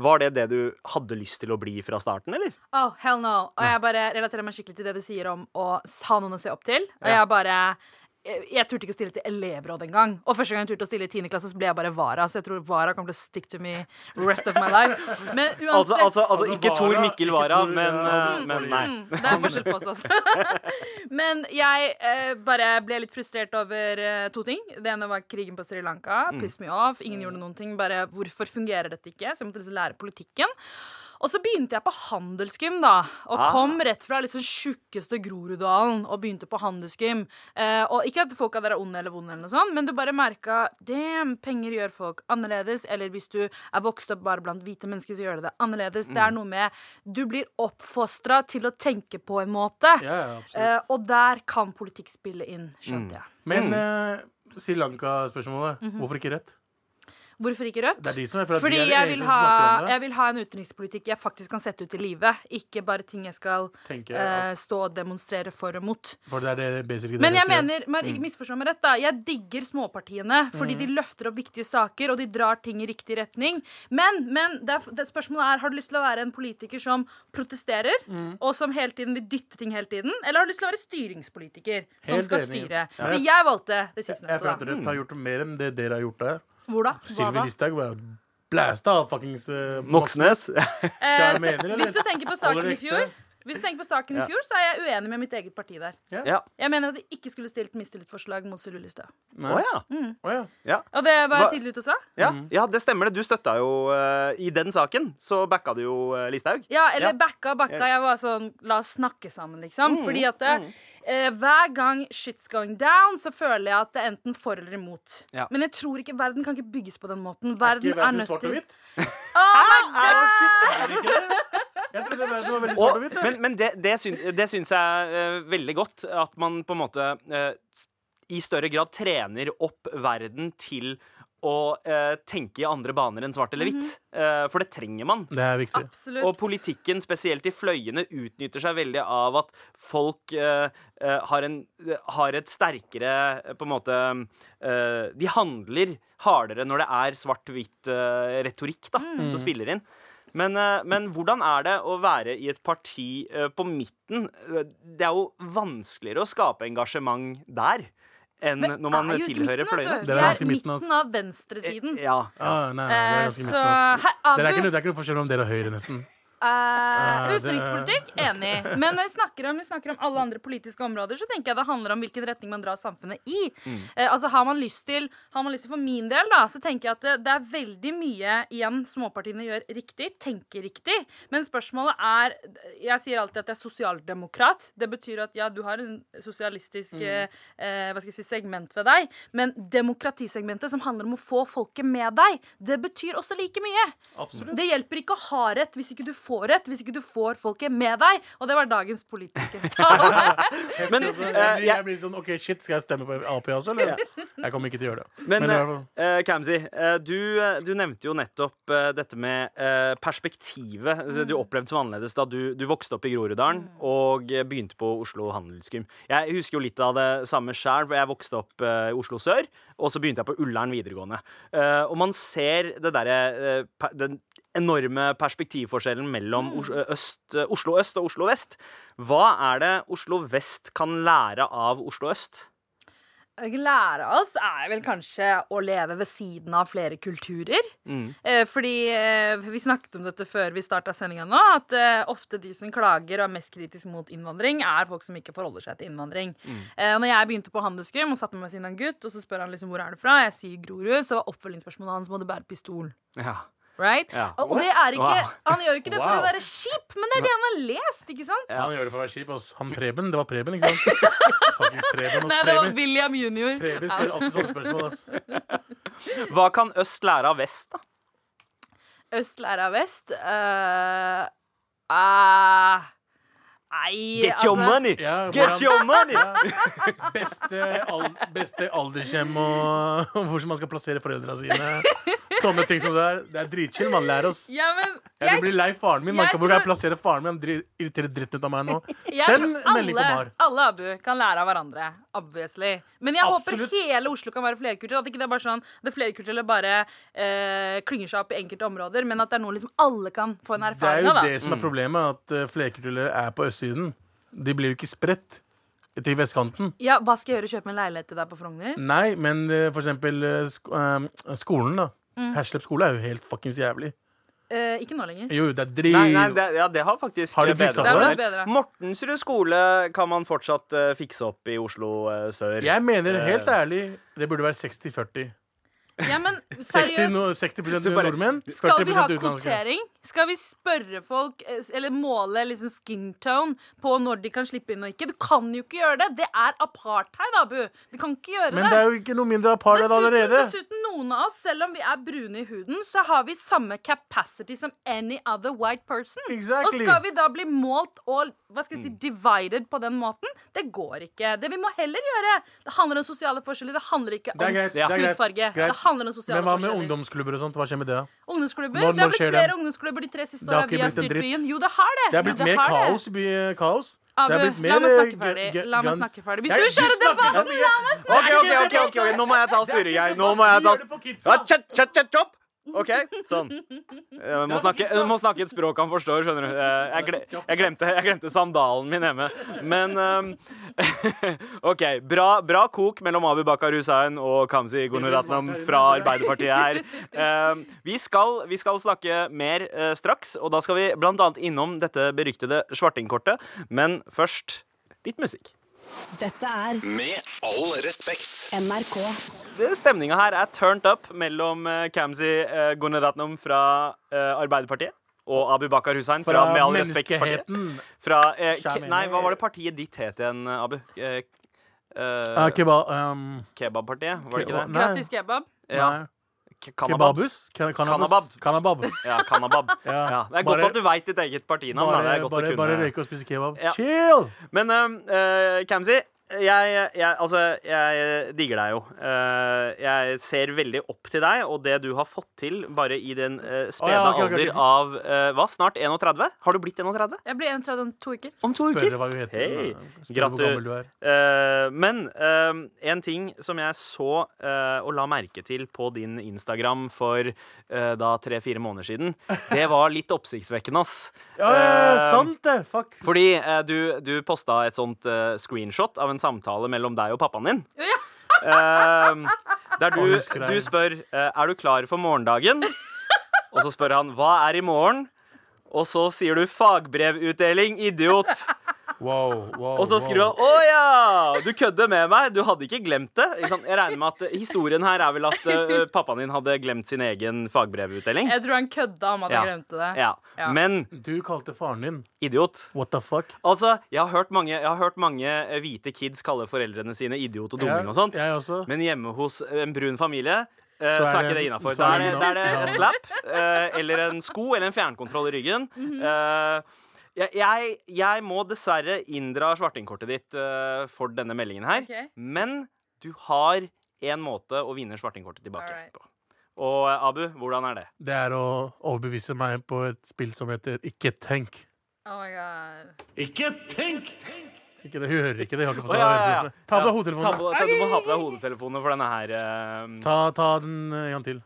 [SPEAKER 3] Var det det du hadde lyst til å bli fra starten, eller?
[SPEAKER 4] Oh, hell no. Og jeg bare relaterer meg skikkelig til det du sier om å ha noen å se opp til. Og
[SPEAKER 3] Ja.
[SPEAKER 4] jeg bare jeg, jeg turte ikke å stille til elevråd engang. Og første gang jeg turte å stille i 10. klasse, så ble jeg bare vara. Så jeg tror vara kommer til å stick to me rest of my life. Men uansett
[SPEAKER 3] Altså, altså, altså
[SPEAKER 5] Altså,
[SPEAKER 3] ikke Tor
[SPEAKER 5] Vara,
[SPEAKER 3] Mikkel
[SPEAKER 5] ikke
[SPEAKER 3] Wara,
[SPEAKER 5] Tor-
[SPEAKER 3] men,
[SPEAKER 5] ja,
[SPEAKER 3] eh, men nei.
[SPEAKER 4] Mm, Det er forskjell på oss, altså. Men jeg eh, bare ble litt frustrert over eh, to ting. Det ene var krigen på Sri Lanka.
[SPEAKER 5] Mm.
[SPEAKER 4] Piss me off. Ingen gjorde noen ting. Bare hvorfor fungerer dette ikke? Så jeg måtte liksom lære politikken. Og så begynte jeg på handelsgym, da. Og
[SPEAKER 3] Ah.
[SPEAKER 4] kom rett fra liksom tjukkeste Groruddalen og begynte på handelsgym. Eh, og ikke at folk av dere er onde eller vonde, eller noe sånt, men du bare merka Damn, penger gjør folk annerledes. Eller hvis du er vokst opp bare blant hvite mennesker, så gjør det det annerledes. Det
[SPEAKER 5] Mm.
[SPEAKER 4] er noe med Du blir oppfostra til å tenke på en måte.
[SPEAKER 5] Ja, ja, absolutt.
[SPEAKER 4] Eh, og der kan politikk spille inn, skjønte jeg.
[SPEAKER 3] Mm.
[SPEAKER 5] Men eh, Sri Lanka-spørsmålet.
[SPEAKER 4] Mhm.
[SPEAKER 5] Hvorfor ikke rødt?
[SPEAKER 4] Hvorfor ikke Rødt?
[SPEAKER 5] Det er de som er for at
[SPEAKER 4] Fordi
[SPEAKER 5] de er de
[SPEAKER 4] jeg
[SPEAKER 5] eneste
[SPEAKER 4] vil,
[SPEAKER 5] som snakker
[SPEAKER 4] ha,
[SPEAKER 5] om det.
[SPEAKER 4] jeg vil ha en utenrikspolitikk jeg faktisk kan sette ut i livet. Ikke bare ting jeg skal
[SPEAKER 5] Tenker jeg
[SPEAKER 4] eh,
[SPEAKER 5] at,
[SPEAKER 4] stå og demonstrere for og mot.
[SPEAKER 5] for det er det basically det Mm.
[SPEAKER 4] Men jeg
[SPEAKER 5] rødt gjør.
[SPEAKER 4] mener, men ikke misforstå meg rett da Jeg digger småpartiene fordi de løfter opp viktige saker Og de drar ting i riktig retning Men, men det er, det spørsmålet er Har du lyst til å være en politiker som protesterer Og som hele tiden vil dytte ting hele tiden Eller har du lyst til å være styringspolitiker Som
[SPEAKER 5] Helt
[SPEAKER 4] skal
[SPEAKER 5] enig.
[SPEAKER 4] styre
[SPEAKER 5] Ja.
[SPEAKER 4] Så jeg valgte det siste
[SPEAKER 5] Jeg føler at
[SPEAKER 4] nettet da
[SPEAKER 5] Rødt
[SPEAKER 3] Mm.
[SPEAKER 5] har gjort mer enn det dere har gjort der.
[SPEAKER 4] Hvor da? Hva
[SPEAKER 5] Sylvi
[SPEAKER 4] da?
[SPEAKER 5] Listhaug ble blæsta av fuckings eh,
[SPEAKER 3] Moxnes.
[SPEAKER 4] Eh,
[SPEAKER 5] Skjær mener, eller?
[SPEAKER 4] Hvis du tenker på
[SPEAKER 5] Holder
[SPEAKER 4] saken i
[SPEAKER 5] det ekte?
[SPEAKER 4] fjor Hvis du tenker på saken i fjor Så er jeg uenig med mitt eget parti der
[SPEAKER 3] Ja.
[SPEAKER 4] Jeg mener at de ikke skulle stilt mistillitsforslag mot Sylvi Lystad
[SPEAKER 5] Nei.
[SPEAKER 3] Å ja.
[SPEAKER 5] Å ja.
[SPEAKER 4] Og det var
[SPEAKER 3] Hva-
[SPEAKER 4] jeg tidlig ute og sa
[SPEAKER 3] ja. Ja, det stemmer det. Du støtta jo eh, I den saken så backa du jo eh, Listhaug.
[SPEAKER 4] Ja, eller
[SPEAKER 3] Ja. Mm,
[SPEAKER 4] backa backa. Jeg var sånn La oss snakke sammen, liksom. Fordi at det, eh, hver gang shit's going down, så føler jeg at det er enten for eller imot.
[SPEAKER 3] Ja.
[SPEAKER 4] Men jeg tror ikke verden kan ikke bygges på den måten. Verden
[SPEAKER 5] Ikke
[SPEAKER 4] er
[SPEAKER 5] verden
[SPEAKER 4] nødt
[SPEAKER 5] svart og
[SPEAKER 4] til
[SPEAKER 5] hvitt?
[SPEAKER 4] Å,
[SPEAKER 5] Å, shit, er det ikke det? Jeg trodde verden var veldig svart
[SPEAKER 3] Og,
[SPEAKER 5] og hvitt. jeg.
[SPEAKER 3] men men det, det, syn, det syns jeg eh, veldig godt. At man på en måte eh, s- i større grad trener opp verden til å eh, tenke i andre baner enn svart eller hvitt. Eh, for det trenger man.
[SPEAKER 5] Det er viktig.
[SPEAKER 4] Absolutt.
[SPEAKER 3] Og politikken, spesielt i fløyene, utnytter seg veldig av at folk eh, eh, har, en, har et sterkere eh, På en måte eh, De handler hardere når det er svart-hvitt eh, retorikk da,
[SPEAKER 4] Mm.
[SPEAKER 3] som spiller inn. Men, eh, men hvordan er det å være i et parti eh, på midten? Eh, Det er jo vanskeligere å skape engasjement der enn
[SPEAKER 4] Men
[SPEAKER 3] når man
[SPEAKER 4] jeg er jo altså. ikke
[SPEAKER 3] tilhører
[SPEAKER 4] midten, vet du.
[SPEAKER 3] fløyene. Eh,
[SPEAKER 5] Dere er
[SPEAKER 4] Jeg er
[SPEAKER 5] ganske i midten,
[SPEAKER 4] midten,
[SPEAKER 5] altså.
[SPEAKER 4] av venstresiden.
[SPEAKER 3] Ja.
[SPEAKER 5] Ah, nei, nei, det er
[SPEAKER 4] Eh,
[SPEAKER 5] ganske
[SPEAKER 4] Så
[SPEAKER 5] midten, ass.
[SPEAKER 4] hei,
[SPEAKER 5] Det er ikke noe-
[SPEAKER 4] Abu,
[SPEAKER 5] det er ikke noe forskjell om dere og Høyre, nesten.
[SPEAKER 4] eh,
[SPEAKER 5] Ah, det er-
[SPEAKER 4] utenrikspolitikk, enig. Men når vi snakker, om, vi snakker om alle andre politiske områder, så tenker jeg det handler om hvilken retning man drar samfunnet i.
[SPEAKER 5] Mm.
[SPEAKER 4] Eh, altså har man lyst til Har man lyst til For min del da Så tenker jeg at det, det er veldig mye igjen småpartiene gjør riktig. Tenker riktig. Men spørsmålet er Jeg sier alltid at jeg er sosialdemokrat. Det betyr at ja, du har en sosialistisk
[SPEAKER 5] Mm.
[SPEAKER 4] eh, eh, Hva skal jeg si segment ved deg, men demokratisegmentet som handler om å få folket med deg, det betyr også like mye.
[SPEAKER 5] Absolutt.
[SPEAKER 4] Det hjelper ikke å ha rett hvis ikke du får rett, hvis ikke du får folket med deg. Og det var dagens politiske tale.
[SPEAKER 3] Men
[SPEAKER 5] Altså,
[SPEAKER 3] eh,
[SPEAKER 5] jeg, blir-
[SPEAKER 3] jeg,
[SPEAKER 5] jeg blir sånn, ok, shit, Skal jeg stemme på Ap også, eller? Jeg kommer ikke til å gjøre det.
[SPEAKER 3] Men,
[SPEAKER 5] Men i hvert fall-
[SPEAKER 3] eh, eh, Kamzy, eh, du, eh, du nevnte jo nettopp eh, dette med eh, perspektivet altså, du opplevde som annerledes da du, du vokste opp i Groruddalen og eh, begynte på Oslo Handelsgym. Jeg husker jo litt av det samme sjøl, for jeg vokste opp eh, i Oslo sør, og så begynte jeg på Ullern videregående. Eh, og man ser det derre eh, per- den enorme perspektivforskjellen mellom Os- øst, eh, Oslo øst og Oslo vest. Hva er det Oslo vest kan lære av Oslo øst?
[SPEAKER 4] Lære oss er vel kanskje å leve ved siden av flere kulturer.
[SPEAKER 3] Mm.
[SPEAKER 4] Eh, fordi eh, vi snakket om dette før vi starta sendinga nå, at eh, ofte de som klager og er mest kritisk mot innvandring, er folk som ikke forholder seg til innvandring. Eh, når jeg begynte på handelsgym og satte meg ved siden av en gutt, og så spør han liksom hvor er du fra, jeg sier Grorud, så var oppfølgingsspørsmålet hans må du bære pistol.
[SPEAKER 3] Ja.
[SPEAKER 4] Right?
[SPEAKER 3] Ja.
[SPEAKER 4] Og, og det er ikke
[SPEAKER 3] Wow.
[SPEAKER 4] Han gjør jo ikke det for
[SPEAKER 5] Wow.
[SPEAKER 4] å være kjip, men det er det han har lest, ikke sant?
[SPEAKER 5] Han gjør det for å være kjip. ass. Han Preben, det var Preben, ikke sant? Faktisk Preben og
[SPEAKER 4] Nei, det var
[SPEAKER 5] Preben.
[SPEAKER 4] William junior.
[SPEAKER 5] Preben spør alltid sånne spørsmål. ass.
[SPEAKER 3] Hva kan øst lære av vest, da?
[SPEAKER 4] Øst lærer av vest. eh, eh, nei
[SPEAKER 3] Get your
[SPEAKER 4] altså-
[SPEAKER 3] money!
[SPEAKER 5] Ja,
[SPEAKER 3] Get
[SPEAKER 5] hvordan-
[SPEAKER 3] your money!
[SPEAKER 5] Ja. Beste, al beste aldershjem og, og hvor man skal plassere foreldra sine. Sånne ting som det er. Det er dritchill. Man lærer oss.
[SPEAKER 4] Ja, men
[SPEAKER 5] Jeg blir
[SPEAKER 4] jeg,
[SPEAKER 5] lei faren min. Man
[SPEAKER 4] jeg
[SPEAKER 5] kan, hvor kan jeg
[SPEAKER 4] tror-
[SPEAKER 5] plassere faren min? Han dri- irriterer dritten ut av meg nå.
[SPEAKER 4] jeg,
[SPEAKER 5] Send
[SPEAKER 4] tror
[SPEAKER 5] melding til Mar.
[SPEAKER 4] alle, alle Abu kan lære av hverandre. Obviously. Men jeg
[SPEAKER 5] Absolutt.
[SPEAKER 4] håper hele Oslo kan være flerkulturell. At ikke det er bare sånn Det flerkulturelle bare eh, klynger seg opp i enkelte områder, men at det er noe liksom alle kan få en
[SPEAKER 5] Det er
[SPEAKER 3] Mm.
[SPEAKER 4] erfaring
[SPEAKER 5] jo
[SPEAKER 4] av. da
[SPEAKER 5] det som er problemet, at eh, flerkulturelle er på østsiden. De blir jo ikke spredt. til vestkanten.
[SPEAKER 4] Ja, Hva skal jeg gjøre? Kjøpe meg en leilighet til deg på Frogner?
[SPEAKER 5] Nei, men eh, for eksempel eh, sk eh, skolen, da.
[SPEAKER 4] Mm.
[SPEAKER 5] Herslep skole er jo helt fuckings jævlig.
[SPEAKER 4] Eh, ikke nå lenger.
[SPEAKER 5] Jo, det er drit...
[SPEAKER 3] Nei, nei, det, ja, det har faktisk
[SPEAKER 5] Har de
[SPEAKER 3] eh, bedret
[SPEAKER 5] fiksa
[SPEAKER 4] på
[SPEAKER 3] seg.
[SPEAKER 4] det? Det har blitt bedre.
[SPEAKER 3] Mortensrud skole kan man fortsatt eh, fikse opp i Oslo eh, sør.
[SPEAKER 5] Jeg mener helt ærlig, det burde være 60-40.
[SPEAKER 4] Ja, men
[SPEAKER 5] 60, no,
[SPEAKER 4] seriøst.
[SPEAKER 5] 60
[SPEAKER 3] Så bare-
[SPEAKER 5] nordmenn, 40
[SPEAKER 4] Skal vi ha
[SPEAKER 5] utenlandske.
[SPEAKER 4] kvotering? Skal vi spørre folk, eh, eller måle liksom skin tone på når de kan slippe inn og ikke? Du kan jo ikke gjøre det! Det er apartheid, Abu. Vi kan ikke gjøre
[SPEAKER 5] Men det er jo ikke noe mindre apartheid
[SPEAKER 4] Dessuten,
[SPEAKER 5] allerede.
[SPEAKER 4] dessuten, noen av oss, selv om vi er brune i huden, så har vi samme capacity som any other white person. Og
[SPEAKER 5] Exactly. Mm.
[SPEAKER 4] skal vi da bli målt og hva skal jeg si, divided på den måten? Det går ikke. Det vi må heller gjøre Det handler om sosiale forskjeller. Det handler ikke om
[SPEAKER 5] Det er greit, det er greit,
[SPEAKER 4] hudfarge.
[SPEAKER 5] greit.
[SPEAKER 4] Det handler om sosiale
[SPEAKER 5] Men hva med
[SPEAKER 4] forskjeller.
[SPEAKER 5] ungdomsklubber og sånt? Hva skjer med det? da?
[SPEAKER 4] Ungdomsklubber?
[SPEAKER 5] Når-
[SPEAKER 4] det har
[SPEAKER 5] når
[SPEAKER 4] blitt
[SPEAKER 5] skjer
[SPEAKER 4] flere
[SPEAKER 5] det?
[SPEAKER 4] ungdomsklubber de tre siste
[SPEAKER 5] Det har ikke
[SPEAKER 4] åra vi har
[SPEAKER 5] blitt en
[SPEAKER 4] styrt
[SPEAKER 5] dritt.
[SPEAKER 4] byen. Jo, det har det.
[SPEAKER 5] Det er blitt
[SPEAKER 4] Jo,
[SPEAKER 5] mer
[SPEAKER 4] har det.
[SPEAKER 5] kaos. by- kaos.
[SPEAKER 4] Abu,
[SPEAKER 5] Det er blitt
[SPEAKER 4] la meg
[SPEAKER 5] eh,
[SPEAKER 4] snakke
[SPEAKER 5] gu-
[SPEAKER 4] ferdig.
[SPEAKER 5] gu-
[SPEAKER 4] La meg
[SPEAKER 5] guns.
[SPEAKER 4] snakke ferdig. Hvis
[SPEAKER 5] Jeg-
[SPEAKER 4] du kjører
[SPEAKER 5] snakker
[SPEAKER 4] debatten,
[SPEAKER 5] så mye.
[SPEAKER 4] la meg
[SPEAKER 3] OK, OK, ok, ok, ok, nå må jeg ta og styre, jeg. Nå må jeg ta
[SPEAKER 5] Det er ikke debatt, vi gjør det på
[SPEAKER 3] ja,
[SPEAKER 5] kidsa.
[SPEAKER 3] tjatt, tjatt, tjatt, tjopp. OK, sånn. Jeg må snakke, jeg må snakke et språk han forstår, skjønner du. Eh, Jeg, gle, jeg, glemte, jeg glemte sandalen min hjemme. Men ehm, OK. Bra, bra kok mellom Abu Bakar Hussein og Kamzy Gunaratnam fra Arbeiderpartiet her. Ehm, vi, skal, vi skal snakke mer eh, straks, og da skal vi blant annet innom dette beryktede svartingkortet. Men først litt musikk.
[SPEAKER 6] Dette er
[SPEAKER 1] Med all respekt.
[SPEAKER 6] NRK.
[SPEAKER 3] Stemninga Eh, her er turned up mellom eh, Kamzy uh, Gunaratnam fra eh, Arbeiderpartiet og Abu Bakar Hussein fra,
[SPEAKER 5] Fra
[SPEAKER 3] Med all respekt-partiet.
[SPEAKER 5] menneskeheten.
[SPEAKER 3] Fra eh, ke-
[SPEAKER 5] Kjærlighet.
[SPEAKER 3] Nei, hva var det partiet ditt het igjen, Abu? Eh, eh,
[SPEAKER 5] Ja, kebab... ehm,
[SPEAKER 3] Kebabpartiet, var det ikke det?
[SPEAKER 5] Kebab- Nei.
[SPEAKER 4] Gratis kebab.
[SPEAKER 3] Ja.
[SPEAKER 5] nei.
[SPEAKER 3] Ke- Cannababs.
[SPEAKER 5] Kebabus? Kan- Cannababs? Kannabab.
[SPEAKER 3] Ja, Kannabab.
[SPEAKER 5] Ja.
[SPEAKER 3] Ja, det er
[SPEAKER 5] Bare-
[SPEAKER 3] godt at du veit ditt eget partinavn. da. Det er
[SPEAKER 5] Bare,
[SPEAKER 3] godt å
[SPEAKER 5] bare,
[SPEAKER 3] kunne-
[SPEAKER 5] bare røyke og spise kebab.
[SPEAKER 3] Ja.
[SPEAKER 5] Chill!
[SPEAKER 3] Men eh, eh, Kamzy, jeg, jeg, altså, jeg digger deg jo. Eh, jeg ser veldig opp til deg og det du har fått til bare i den eh, spede
[SPEAKER 5] Å, ja, ok, ok, ok.
[SPEAKER 3] alder av eh, hva, snart 31? Har du blitt 31?
[SPEAKER 4] Jeg blir 31 om to uker.
[SPEAKER 3] Om to
[SPEAKER 5] Spørre hva hun heter.
[SPEAKER 3] Hei.
[SPEAKER 5] Spør
[SPEAKER 3] Gratu-
[SPEAKER 5] hvor gammel du er.
[SPEAKER 3] Eh, men eh, en ting som jeg så eh, og la merke til på din Instagram for eh, da tre-fire måneder siden, det var litt oppsiktsvekkende, ass.
[SPEAKER 5] Ja, ja,
[SPEAKER 3] Eh,
[SPEAKER 5] ja, sant det! Fuck.
[SPEAKER 3] Fordi eh, du, du posta et sånt eh, screenshot av en samtale mellom deg og pappaen din.
[SPEAKER 4] Ja.
[SPEAKER 3] Ehm, der
[SPEAKER 5] Å,
[SPEAKER 3] du,
[SPEAKER 5] husker jeg.
[SPEAKER 3] du spør eh, Er du klar for morgendagen? Og så spør han hva er i morgen? Og så sier du 'fagbrevutdeling, idiot'.
[SPEAKER 5] Wow, wow,
[SPEAKER 3] Og så skriver han 'Å ja, du kødder med meg'. Du hadde ikke glemt det. Ikke sant? Jeg regner med at eh, historien her er vel at eh, pappaen din hadde glemt sin egen fagbrevutdeling.
[SPEAKER 4] Jeg tror han kødda om at jeg
[SPEAKER 3] Ja.
[SPEAKER 4] glemte det.
[SPEAKER 3] Ja.
[SPEAKER 4] Ja.
[SPEAKER 3] Men
[SPEAKER 5] Du kalte faren din
[SPEAKER 3] idiot.
[SPEAKER 5] what the fuck?
[SPEAKER 3] Altså, jeg har hørt mange, jeg har hørt mange eh, hvite kids kalle foreldrene sine idiot og dumming og sånt.
[SPEAKER 5] Jeg også.
[SPEAKER 3] Men hjemme hos en brun familie eh,
[SPEAKER 5] er
[SPEAKER 3] så, er
[SPEAKER 5] det-
[SPEAKER 3] ikke det innafor.
[SPEAKER 5] så
[SPEAKER 3] Da
[SPEAKER 5] er
[SPEAKER 3] er
[SPEAKER 5] det
[SPEAKER 3] det, da er
[SPEAKER 5] innafor.
[SPEAKER 3] det slap eh, eller en sko eller en fjernkontroll i ryggen.
[SPEAKER 4] Mhm.
[SPEAKER 3] Eh, jeg- jeg, jeg må dessverre inndra svartingkortet ditt eh, for denne meldingen her.
[SPEAKER 4] Ok.
[SPEAKER 3] Men du har én måte å vinne svartingkortet tilbake
[SPEAKER 4] Alright.
[SPEAKER 3] på. Og eh, Abu, hvordan er det?
[SPEAKER 5] Det er å overbevise meg på et spill som heter Ikke tenk.
[SPEAKER 4] Oh my god.
[SPEAKER 5] Ikke tenk! Ikke det, Hun hører ikke det. Hun har ikke på
[SPEAKER 3] Å,
[SPEAKER 5] seg
[SPEAKER 3] ja, ja, ja.
[SPEAKER 5] høretelefonene. Ta på deg
[SPEAKER 3] Ja, ta
[SPEAKER 5] hodetelefonene.
[SPEAKER 3] på- ta- Du må ha på deg hodetelefonene for denne her. eh,
[SPEAKER 5] Ta, ta den eh, en gang til.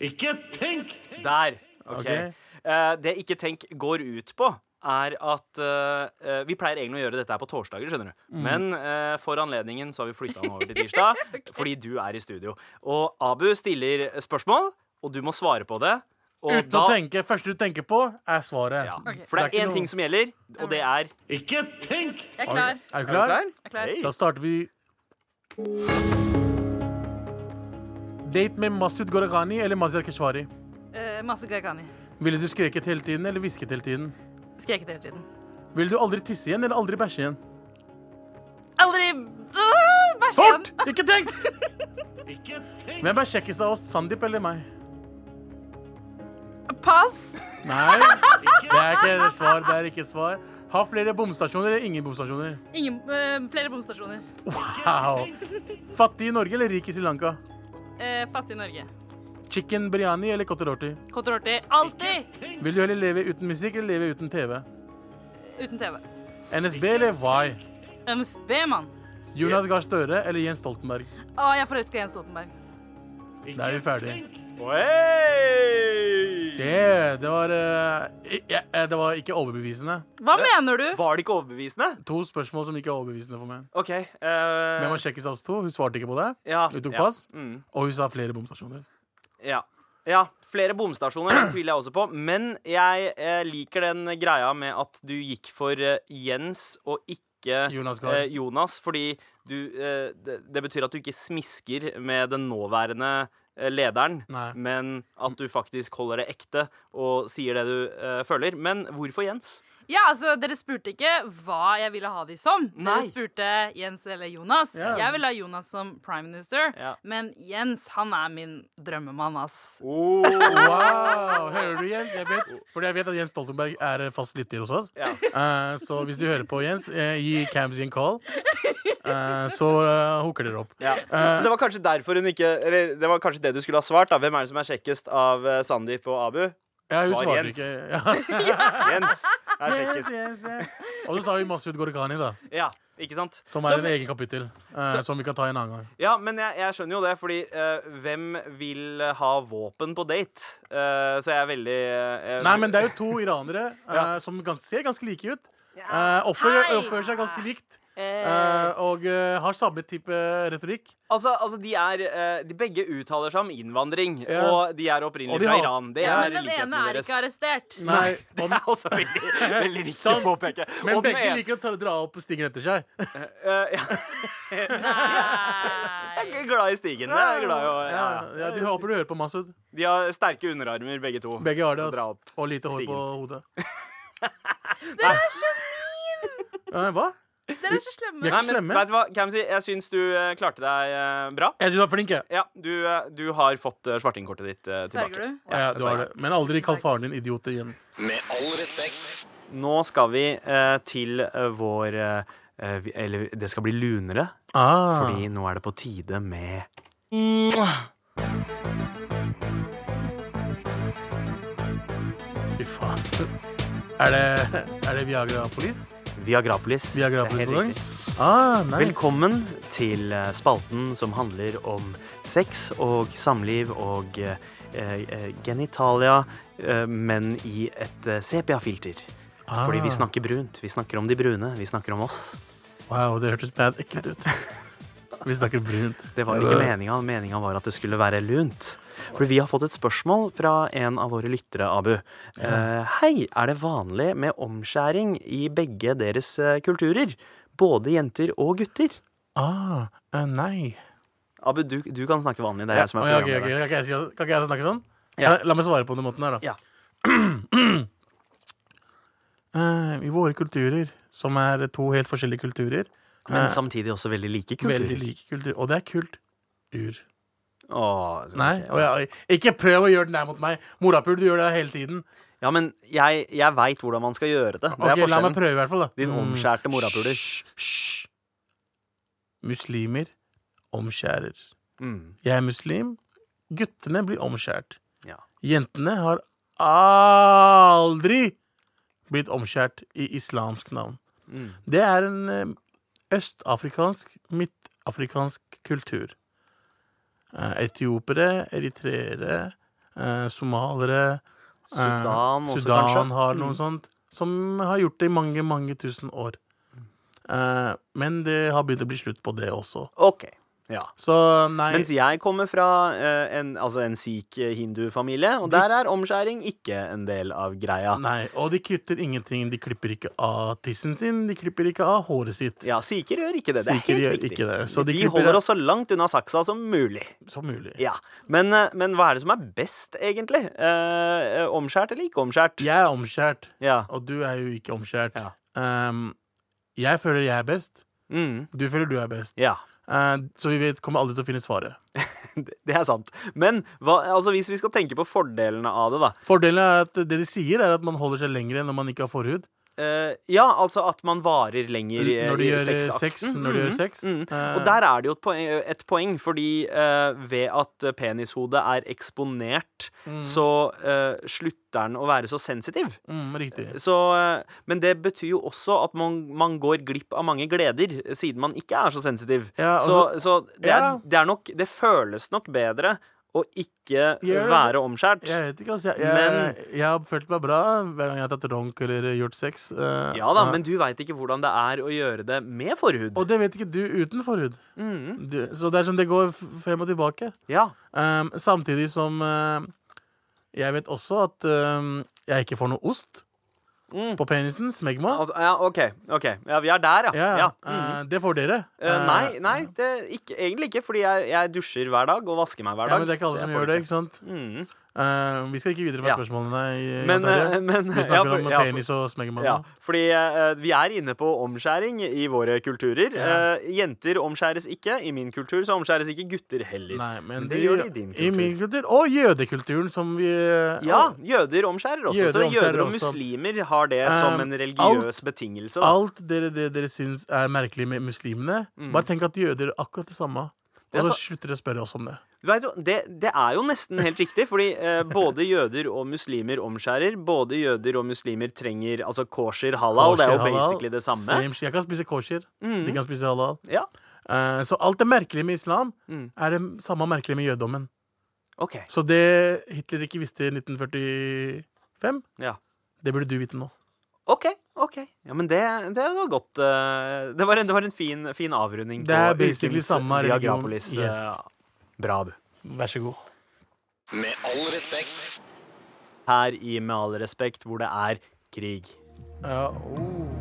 [SPEAKER 5] Ikke tenk!
[SPEAKER 3] Der. ok.
[SPEAKER 5] Ok.
[SPEAKER 3] Eh, det Ikke tenk går ut på, er at eh, eh, Vi pleier egentlig å gjøre dette her på torsdager, skjønner du.
[SPEAKER 5] Mhm.
[SPEAKER 3] Men eh, for anledningen så har vi flytta den over til tirsdag, fordi du er i studio. Og Abu stiller spørsmål, og du må svare på det. Og
[SPEAKER 5] Uten å tenke. Første du tenker på, er svaret.
[SPEAKER 3] ja.
[SPEAKER 4] Ok.
[SPEAKER 3] For det
[SPEAKER 5] Det er
[SPEAKER 3] er
[SPEAKER 5] ikke
[SPEAKER 3] én
[SPEAKER 5] noe-
[SPEAKER 3] ting som gjelder, og det er
[SPEAKER 5] Ikke tenk!
[SPEAKER 4] Jeg er klar.
[SPEAKER 5] Er du klar?
[SPEAKER 4] Jeg er klar.
[SPEAKER 3] Hei.
[SPEAKER 5] Da starter vi Date med Masud Gharahkhani eller Mazyar Keshvari?
[SPEAKER 4] Eh, masse gaikani.
[SPEAKER 5] Ville du skreket hele tiden eller hvisket hele tiden?
[SPEAKER 4] Skreket hele tiden.
[SPEAKER 5] Ville du aldri tisse igjen eller aldri bæsje igjen?
[SPEAKER 4] Aldri Ah, Bæsj igjen.
[SPEAKER 5] Fort! Ikke tenk! Hvem er kjekkest av oss, Sandeep eller meg?
[SPEAKER 4] Pass.
[SPEAKER 5] Nei, det er ikke et svar. Det er ikke et svar. Ha flere bomstasjoner eller ingen bomstasjoner?
[SPEAKER 4] Ingen, eh, flere bomstasjoner.
[SPEAKER 5] Wow. Fattig i Norge eller rik i Sri Lanka?
[SPEAKER 4] Eh, fattig Norge.
[SPEAKER 5] Chicken biryani eller kotter roti?
[SPEAKER 4] Kotororti. Alltid!
[SPEAKER 5] Vil du heller leve uten musikk eller leve uten TV?
[SPEAKER 4] Uten TV.
[SPEAKER 5] NSB eller Why?
[SPEAKER 4] NSB, mann.
[SPEAKER 5] Jonas Gahr Støre eller Jens Stoltenberg?
[SPEAKER 4] Å, jeg forelsker Jens Stoltenberg.
[SPEAKER 5] Da er vi ferdige.
[SPEAKER 3] Oi!
[SPEAKER 5] Det, det var eh, i- ja, eh, Det var ikke overbevisende.
[SPEAKER 4] Hva mener du?
[SPEAKER 3] Var det ikke overbevisende?
[SPEAKER 5] To spørsmål som ikke er overbevisende for meg.
[SPEAKER 3] OK. eh,
[SPEAKER 5] Men jeg var kjekkest av oss to. Hun svarte ikke på det.
[SPEAKER 3] ja,
[SPEAKER 5] Hun tok
[SPEAKER 3] ja,
[SPEAKER 5] pass.
[SPEAKER 3] Mm.
[SPEAKER 5] Og hun sa flere bomstasjoner.
[SPEAKER 3] Ja. ja. Flere bomstasjoner det tviler jeg også på. Men jeg eh, liker den greia med at du gikk for eh, Jens og ikke
[SPEAKER 5] Jonas Gahr.
[SPEAKER 3] eh, Jonas, fordi du eh, det, det betyr at du ikke smisker med den nåværende eh, lederen,
[SPEAKER 5] Nei.
[SPEAKER 3] men at du faktisk holder det ekte og sier det du eh, føler. Men hvorfor Jens?
[SPEAKER 4] Ja, altså, Dere spurte ikke hva jeg ville ha de som.
[SPEAKER 3] Nei.
[SPEAKER 4] Dere spurte Jens eller Jonas.
[SPEAKER 5] Ja.
[SPEAKER 4] Jeg ville ha Jonas som prime minister,
[SPEAKER 3] Ja.
[SPEAKER 4] men Jens han er min drømmemann. ass.
[SPEAKER 3] Oh.
[SPEAKER 5] Wow! Hører du, Jens? Jeg vet, fordi jeg vet at Jens Stoltenberg er eh, fast lytter hos oss.
[SPEAKER 3] Ja.
[SPEAKER 5] Eh, så hvis du hører på, Jens, eh, gi Camzy en call. Eh, så eh, hooker dere opp.
[SPEAKER 3] Ja. Så det var kanskje derfor hun ikke Eller det var kanskje det du skulle ha svart. da Hvem er det som er kjekkest av eh, Sandeep og Abu?
[SPEAKER 5] Ja, hun
[SPEAKER 3] Svar
[SPEAKER 5] svarte
[SPEAKER 3] Jens.
[SPEAKER 5] ikke. Ja.
[SPEAKER 3] Jens er
[SPEAKER 5] Yes,
[SPEAKER 3] kjekkest.
[SPEAKER 5] yes, yes. Og så sa vi Masud Gorghani, da.
[SPEAKER 3] Ja, ikke sant?
[SPEAKER 5] Som er
[SPEAKER 3] Som-
[SPEAKER 5] en egen kapittel. eh,
[SPEAKER 3] Så-
[SPEAKER 5] som vi kan ta en annen gang.
[SPEAKER 3] Ja, men jeg, jeg skjønner jo det, fordi eh, hvem vil ha våpen på date? Eh, så jeg er veldig eh,
[SPEAKER 5] Nei, men det er jo to iranere eh,
[SPEAKER 3] Ja.
[SPEAKER 5] som gans ser ganske like ut. Eh, oppfører,
[SPEAKER 4] Hei!
[SPEAKER 5] oppfører seg ganske likt.
[SPEAKER 3] Eh,
[SPEAKER 5] eh, og eh, har samme type retorikk.
[SPEAKER 3] altså, altså, de er eh, De begge uttaler seg om innvandring,
[SPEAKER 5] Ja.
[SPEAKER 3] og de er
[SPEAKER 5] Og
[SPEAKER 3] opprinnelig
[SPEAKER 5] de
[SPEAKER 3] fra
[SPEAKER 5] har-
[SPEAKER 3] Iran. Det
[SPEAKER 5] Ja.
[SPEAKER 3] er
[SPEAKER 4] Men den
[SPEAKER 3] likheten
[SPEAKER 4] ene er
[SPEAKER 3] deres.
[SPEAKER 4] ikke arrestert.
[SPEAKER 5] Nei,
[SPEAKER 3] Det
[SPEAKER 5] og,
[SPEAKER 3] er også veldig, veldig viktig å påpeke.
[SPEAKER 5] Sånn. men
[SPEAKER 3] Og den
[SPEAKER 5] begge
[SPEAKER 3] ene-
[SPEAKER 5] liker å ta, dra opp stigen etter seg.
[SPEAKER 3] eh, ja,
[SPEAKER 4] Nei.
[SPEAKER 3] jeg er glad i stigen. Jeg er glad i å ja.
[SPEAKER 5] Ja, ja, de håper du hører på Masud.
[SPEAKER 3] De har sterke underarmer, begge to.
[SPEAKER 5] Begge har det.
[SPEAKER 3] Dra opp.
[SPEAKER 5] Ass. Og lite hår
[SPEAKER 3] stigen.
[SPEAKER 5] på hodet. Dere er så mean! hva?
[SPEAKER 4] Dere er så slemme.
[SPEAKER 5] Jeg-
[SPEAKER 3] Nei, men
[SPEAKER 5] slemme.
[SPEAKER 3] vet du hva, Kamzy, jeg syns du eh, klarte deg eh, bra.
[SPEAKER 5] Jeg syns du var flink, jeg.
[SPEAKER 3] Ja, du, eh, du har fått eh, svartingkortet ditt eh, tilbake.
[SPEAKER 4] Sverger du?
[SPEAKER 5] Ja, du har det. Men aldri kall faren din idiot igjen.
[SPEAKER 1] Med all respekt.
[SPEAKER 3] Nå skal vi eh, til eh, vår eh, vi- Eller det skal bli lunere,
[SPEAKER 5] Ah.
[SPEAKER 3] fordi nå er det på tide med
[SPEAKER 5] Fy faen. Er det, er det Viagra Police?
[SPEAKER 3] Viagrapolis.
[SPEAKER 5] Viagrapolis
[SPEAKER 3] Det er
[SPEAKER 5] på
[SPEAKER 3] helt
[SPEAKER 5] gang?
[SPEAKER 3] riktig.
[SPEAKER 5] Ah, nice.
[SPEAKER 3] Velkommen til eh, spalten som handler om sex og samliv og eh, eh, genitalia, eh, men i et eh, sepiafilter.
[SPEAKER 5] Ah.
[SPEAKER 3] Fordi vi snakker brunt. Vi snakker om de brune. Vi snakker om oss.
[SPEAKER 5] Wow, det hørtes bad ekkelt ut. Vi snakker brunt.
[SPEAKER 3] Det var ikke meninga. Meninga var at det skulle være lunt. For vi har fått et spørsmål fra en av våre lyttere, Abu. Eh, hei, er det vanlig med omskjæring i begge deres eh, kulturer? Både jenter og gutter?
[SPEAKER 5] Ah, eh, nei.
[SPEAKER 3] Abu, du, du kan snakke vanlig. Det er jeg som
[SPEAKER 5] Å,
[SPEAKER 3] er
[SPEAKER 5] ja, ok, ok.
[SPEAKER 3] programleder.
[SPEAKER 5] Kan, ikke jeg, si- kan ikke jeg snakke sånn?
[SPEAKER 3] Ja.
[SPEAKER 5] La, la meg svare på den måten der, da.
[SPEAKER 3] Ja.
[SPEAKER 5] Eh, I våre kulturer, som er to helt forskjellige kulturer
[SPEAKER 3] Men samtidig også veldig like kulturer.
[SPEAKER 5] Veldig like kulturer. Og det er kult. Ur.
[SPEAKER 3] Åh, ok.
[SPEAKER 5] Nei. å ja, ikke prøv å gjøre den der mot meg! Morapul, du gjør det hele tiden.
[SPEAKER 3] Ja, men jeg, jeg veit hvordan man skal gjøre det. Det
[SPEAKER 5] Ok,
[SPEAKER 3] er
[SPEAKER 5] La meg
[SPEAKER 3] forskjellen.
[SPEAKER 5] prøve, i hvert fall. da
[SPEAKER 3] Din
[SPEAKER 5] Mm.
[SPEAKER 3] omskjærte morapuler.
[SPEAKER 5] Hysj, hysj. Muslimer omskjærer.
[SPEAKER 3] Mm.
[SPEAKER 5] Jeg er muslim. Guttene blir omskjært.
[SPEAKER 3] Ja.
[SPEAKER 5] Jentene har aldri blitt omskjært i islamsk navn.
[SPEAKER 3] Mm.
[SPEAKER 5] Det er en eh, østafrikansk, midtafrikansk kultur. Eh, Etiopere, eritreere, eh, somalere eh,
[SPEAKER 3] Sudan også,
[SPEAKER 5] Sudan
[SPEAKER 3] kanskje? Mm.
[SPEAKER 5] har noe sånt som har gjort det i mange, mange tusen år.
[SPEAKER 3] Mm.
[SPEAKER 5] Eh, men det har begynt å bli slutt på det også.
[SPEAKER 3] OK. Ja.
[SPEAKER 5] Så nei
[SPEAKER 3] Mens jeg kommer fra eh, en, altså en sikh-hindu-familie, og der er omskjæring ikke en del av greia.
[SPEAKER 5] Nei, og de kutter ingenting. De klipper ikke av tissen sin, de klipper ikke av håret sitt.
[SPEAKER 3] Ja, sikher gjør ikke det. Det er
[SPEAKER 5] Sikher
[SPEAKER 3] helt
[SPEAKER 5] gjør
[SPEAKER 3] riktig.
[SPEAKER 5] ikke det, så de
[SPEAKER 3] vi
[SPEAKER 5] klipper av-
[SPEAKER 3] holder oss så langt unna saksa som mulig.
[SPEAKER 5] Som mulig.
[SPEAKER 3] Ja. Men, eh, men hva er det som er best, egentlig? Eh, eh, omskjært eller ikke omskjært?
[SPEAKER 5] Jeg er omskjært,
[SPEAKER 3] Ja.
[SPEAKER 5] og du er jo ikke omskjært.
[SPEAKER 3] Ja.
[SPEAKER 5] Ehm, jeg føler jeg er best,
[SPEAKER 3] Mm.
[SPEAKER 5] du føler du er best.
[SPEAKER 3] ja.
[SPEAKER 5] Eh, så vi vet, kommer aldri til å finne svaret.
[SPEAKER 3] Det det er sant. Men hva, altså, hvis vi skal tenke på fordelene av det, da.
[SPEAKER 5] Fordelen er at det de sier, er at man holder seg lenger enn når man ikke har forhud.
[SPEAKER 3] Eh, ja, altså at man varer lenger eh,
[SPEAKER 5] Når de
[SPEAKER 3] i
[SPEAKER 5] gjør
[SPEAKER 3] sexakten.
[SPEAKER 5] sex. Når de gjør sex.
[SPEAKER 3] Mm.
[SPEAKER 5] Eh,
[SPEAKER 3] Og der er det jo et poeng, et poeng fordi eh, ved at eh, penishodet er eksponert, så eh, slutter den å være så sensitiv.
[SPEAKER 5] mm, riktig.
[SPEAKER 3] Så, eh, men det betyr jo også at man, man går glipp av mange gleder, eh, siden man ikke er så sensitiv.
[SPEAKER 5] Ja,
[SPEAKER 3] så
[SPEAKER 5] og-
[SPEAKER 3] så det, er,
[SPEAKER 5] ja.
[SPEAKER 3] det er nok Det føles nok bedre å ikke
[SPEAKER 5] Gjør det.
[SPEAKER 3] være omskjært.
[SPEAKER 5] Jeg vet ikke, altså. Jeg, jeg,
[SPEAKER 3] Men-
[SPEAKER 5] jeg har følt meg bra hver gang jeg har tatt ronk eller gjort sex. eh,
[SPEAKER 3] Ja da,
[SPEAKER 5] eh,
[SPEAKER 3] men du veit ikke hvordan det er å gjøre det med forhud.
[SPEAKER 5] Og det vet ikke du uten forhud.
[SPEAKER 3] Mhm.
[SPEAKER 5] Du, så det er sånn, det går f- frem og tilbake.
[SPEAKER 3] Ja.
[SPEAKER 5] Um, samtidig som um, jeg vet også at um, jeg ikke får noe ost
[SPEAKER 3] Mm.
[SPEAKER 5] på penisen. Smegma.
[SPEAKER 3] Altså, ja, OK. ok Ja, Vi er der, ja.
[SPEAKER 5] ja,
[SPEAKER 3] ja.
[SPEAKER 5] uh, det får dere.
[SPEAKER 3] Eh, nei,
[SPEAKER 5] Uh,
[SPEAKER 3] nei det, ikke, egentlig ikke, fordi jeg, jeg dusjer hver dag og vasker meg hver
[SPEAKER 5] ja,
[SPEAKER 3] dag.
[SPEAKER 5] men det er ikke alle
[SPEAKER 3] så jeg
[SPEAKER 5] som
[SPEAKER 3] får
[SPEAKER 5] gjør det, ikke sant?
[SPEAKER 3] Mhm.
[SPEAKER 5] Uh, vi skal ikke videre fra
[SPEAKER 3] Ja.
[SPEAKER 5] spørsmålene. i- i
[SPEAKER 3] Men,
[SPEAKER 5] Ontario.
[SPEAKER 3] eh, men
[SPEAKER 5] vi snakker
[SPEAKER 3] ja, for-
[SPEAKER 5] om
[SPEAKER 3] ja, for-
[SPEAKER 5] penis og smegma.
[SPEAKER 3] Ja,
[SPEAKER 5] nå.
[SPEAKER 3] fordi eh, vi er inne på omskjæring i våre kulturer.
[SPEAKER 5] Ja.
[SPEAKER 3] Eh, jenter omskjæres ikke. I min kultur så omskjæres ikke gutter heller.
[SPEAKER 5] Nei, men
[SPEAKER 3] det
[SPEAKER 5] de-
[SPEAKER 3] gjør de i din
[SPEAKER 5] I
[SPEAKER 3] kultur.
[SPEAKER 5] min kultur. Og jødekulturen, som vi eh,
[SPEAKER 3] Ja, jøder omskjærer også.
[SPEAKER 5] Jøder
[SPEAKER 3] så
[SPEAKER 5] omskjærer
[SPEAKER 3] jøder og
[SPEAKER 5] også.
[SPEAKER 3] muslimer har det som
[SPEAKER 5] Eh,
[SPEAKER 3] en religiøs betingelse. Da.
[SPEAKER 5] Alt dere, dere, dere syns er merkelig med muslimene, bare tenk at jøder gjør akkurat det samme.
[SPEAKER 3] Mm. Det er
[SPEAKER 5] Og så
[SPEAKER 3] så-
[SPEAKER 5] slutter de å spørre oss om det.
[SPEAKER 3] Vet du, det, det er jo nesten helt riktig, fordi eh, både jøder og muslimer omskjærer. Både jøder og muslimer trenger altså kosher halal. det er jo
[SPEAKER 5] Kosher, halal,
[SPEAKER 3] basically det samme. Mm.
[SPEAKER 5] same shit. jeg kan spise kosher. De kan spise halal.
[SPEAKER 3] Ja,
[SPEAKER 5] Eh, så alt det merkelige med islam
[SPEAKER 3] Mm.
[SPEAKER 5] er det samme merkelige med jødedommen.
[SPEAKER 3] OK.
[SPEAKER 5] Så det Hitler ikke visste i 1945,
[SPEAKER 3] Ja.
[SPEAKER 5] det burde du vite nå.
[SPEAKER 3] OK. ok Ja, men det, det var godt. eh, det, var en, det var en fin, fin avrunding
[SPEAKER 5] Det er
[SPEAKER 3] på
[SPEAKER 5] basically
[SPEAKER 3] ukens
[SPEAKER 5] samme religion.
[SPEAKER 3] Diagrapolis. eh,
[SPEAKER 5] Yes.
[SPEAKER 3] Bra, du.
[SPEAKER 5] Vær så god.
[SPEAKER 1] Med all respekt.
[SPEAKER 3] Her i Med all respekt, hvor det er krig.
[SPEAKER 5] Ja, oh.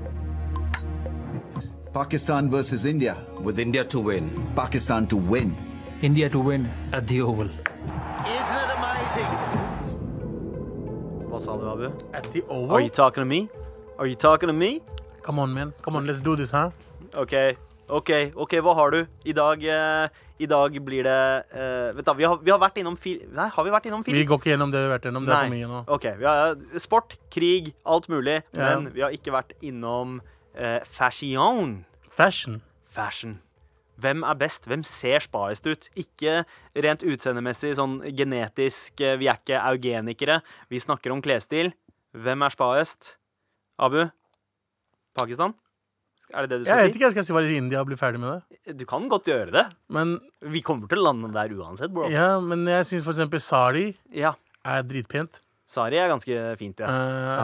[SPEAKER 6] Pakistan versus India.
[SPEAKER 7] with India to win.
[SPEAKER 6] Pakistan to win.
[SPEAKER 7] India to win at the Oval.
[SPEAKER 3] Hva sa du, Abu?
[SPEAKER 5] At the
[SPEAKER 3] Are you
[SPEAKER 5] oval?
[SPEAKER 3] talking to me? Are you talking to me?
[SPEAKER 5] Come on, man. Come on, let's do this, huh?
[SPEAKER 3] OK, ok, ok, hva har du? I dag, eh, i dag blir det eh, Vet du, vi har, vi har vært innom fil... Nei, har vi vært innom film?
[SPEAKER 5] Vi går ikke gjennom det vi har vært gjennom. Det er for
[SPEAKER 3] Nei.
[SPEAKER 5] mye nå.
[SPEAKER 3] OK. Vi har sport, krig, alt mulig.
[SPEAKER 5] Ja.
[SPEAKER 3] Men vi har ikke vært innom eh, fashion.
[SPEAKER 5] Fashion.
[SPEAKER 3] Fashion. Hvem er best? Hvem ser spaest ut? Ikke rent utseendemessig, sånn genetisk eh, Vi er ikke eugenikere. Vi snakker om klesstil. Hvem er spaest? Abu? Pakistan? Er det det du
[SPEAKER 5] Jeg
[SPEAKER 3] skal
[SPEAKER 5] vet ikke, jeg skal si bare India og bli ferdig med det.
[SPEAKER 3] si? Du kan godt gjøre det.
[SPEAKER 5] Men,
[SPEAKER 3] Vi kommer til å lande der uansett, bro. Ja.
[SPEAKER 5] ja, men jeg syns for eksempel sari er dritpent.
[SPEAKER 3] Sari er ganske fint, ja.
[SPEAKER 5] Eh,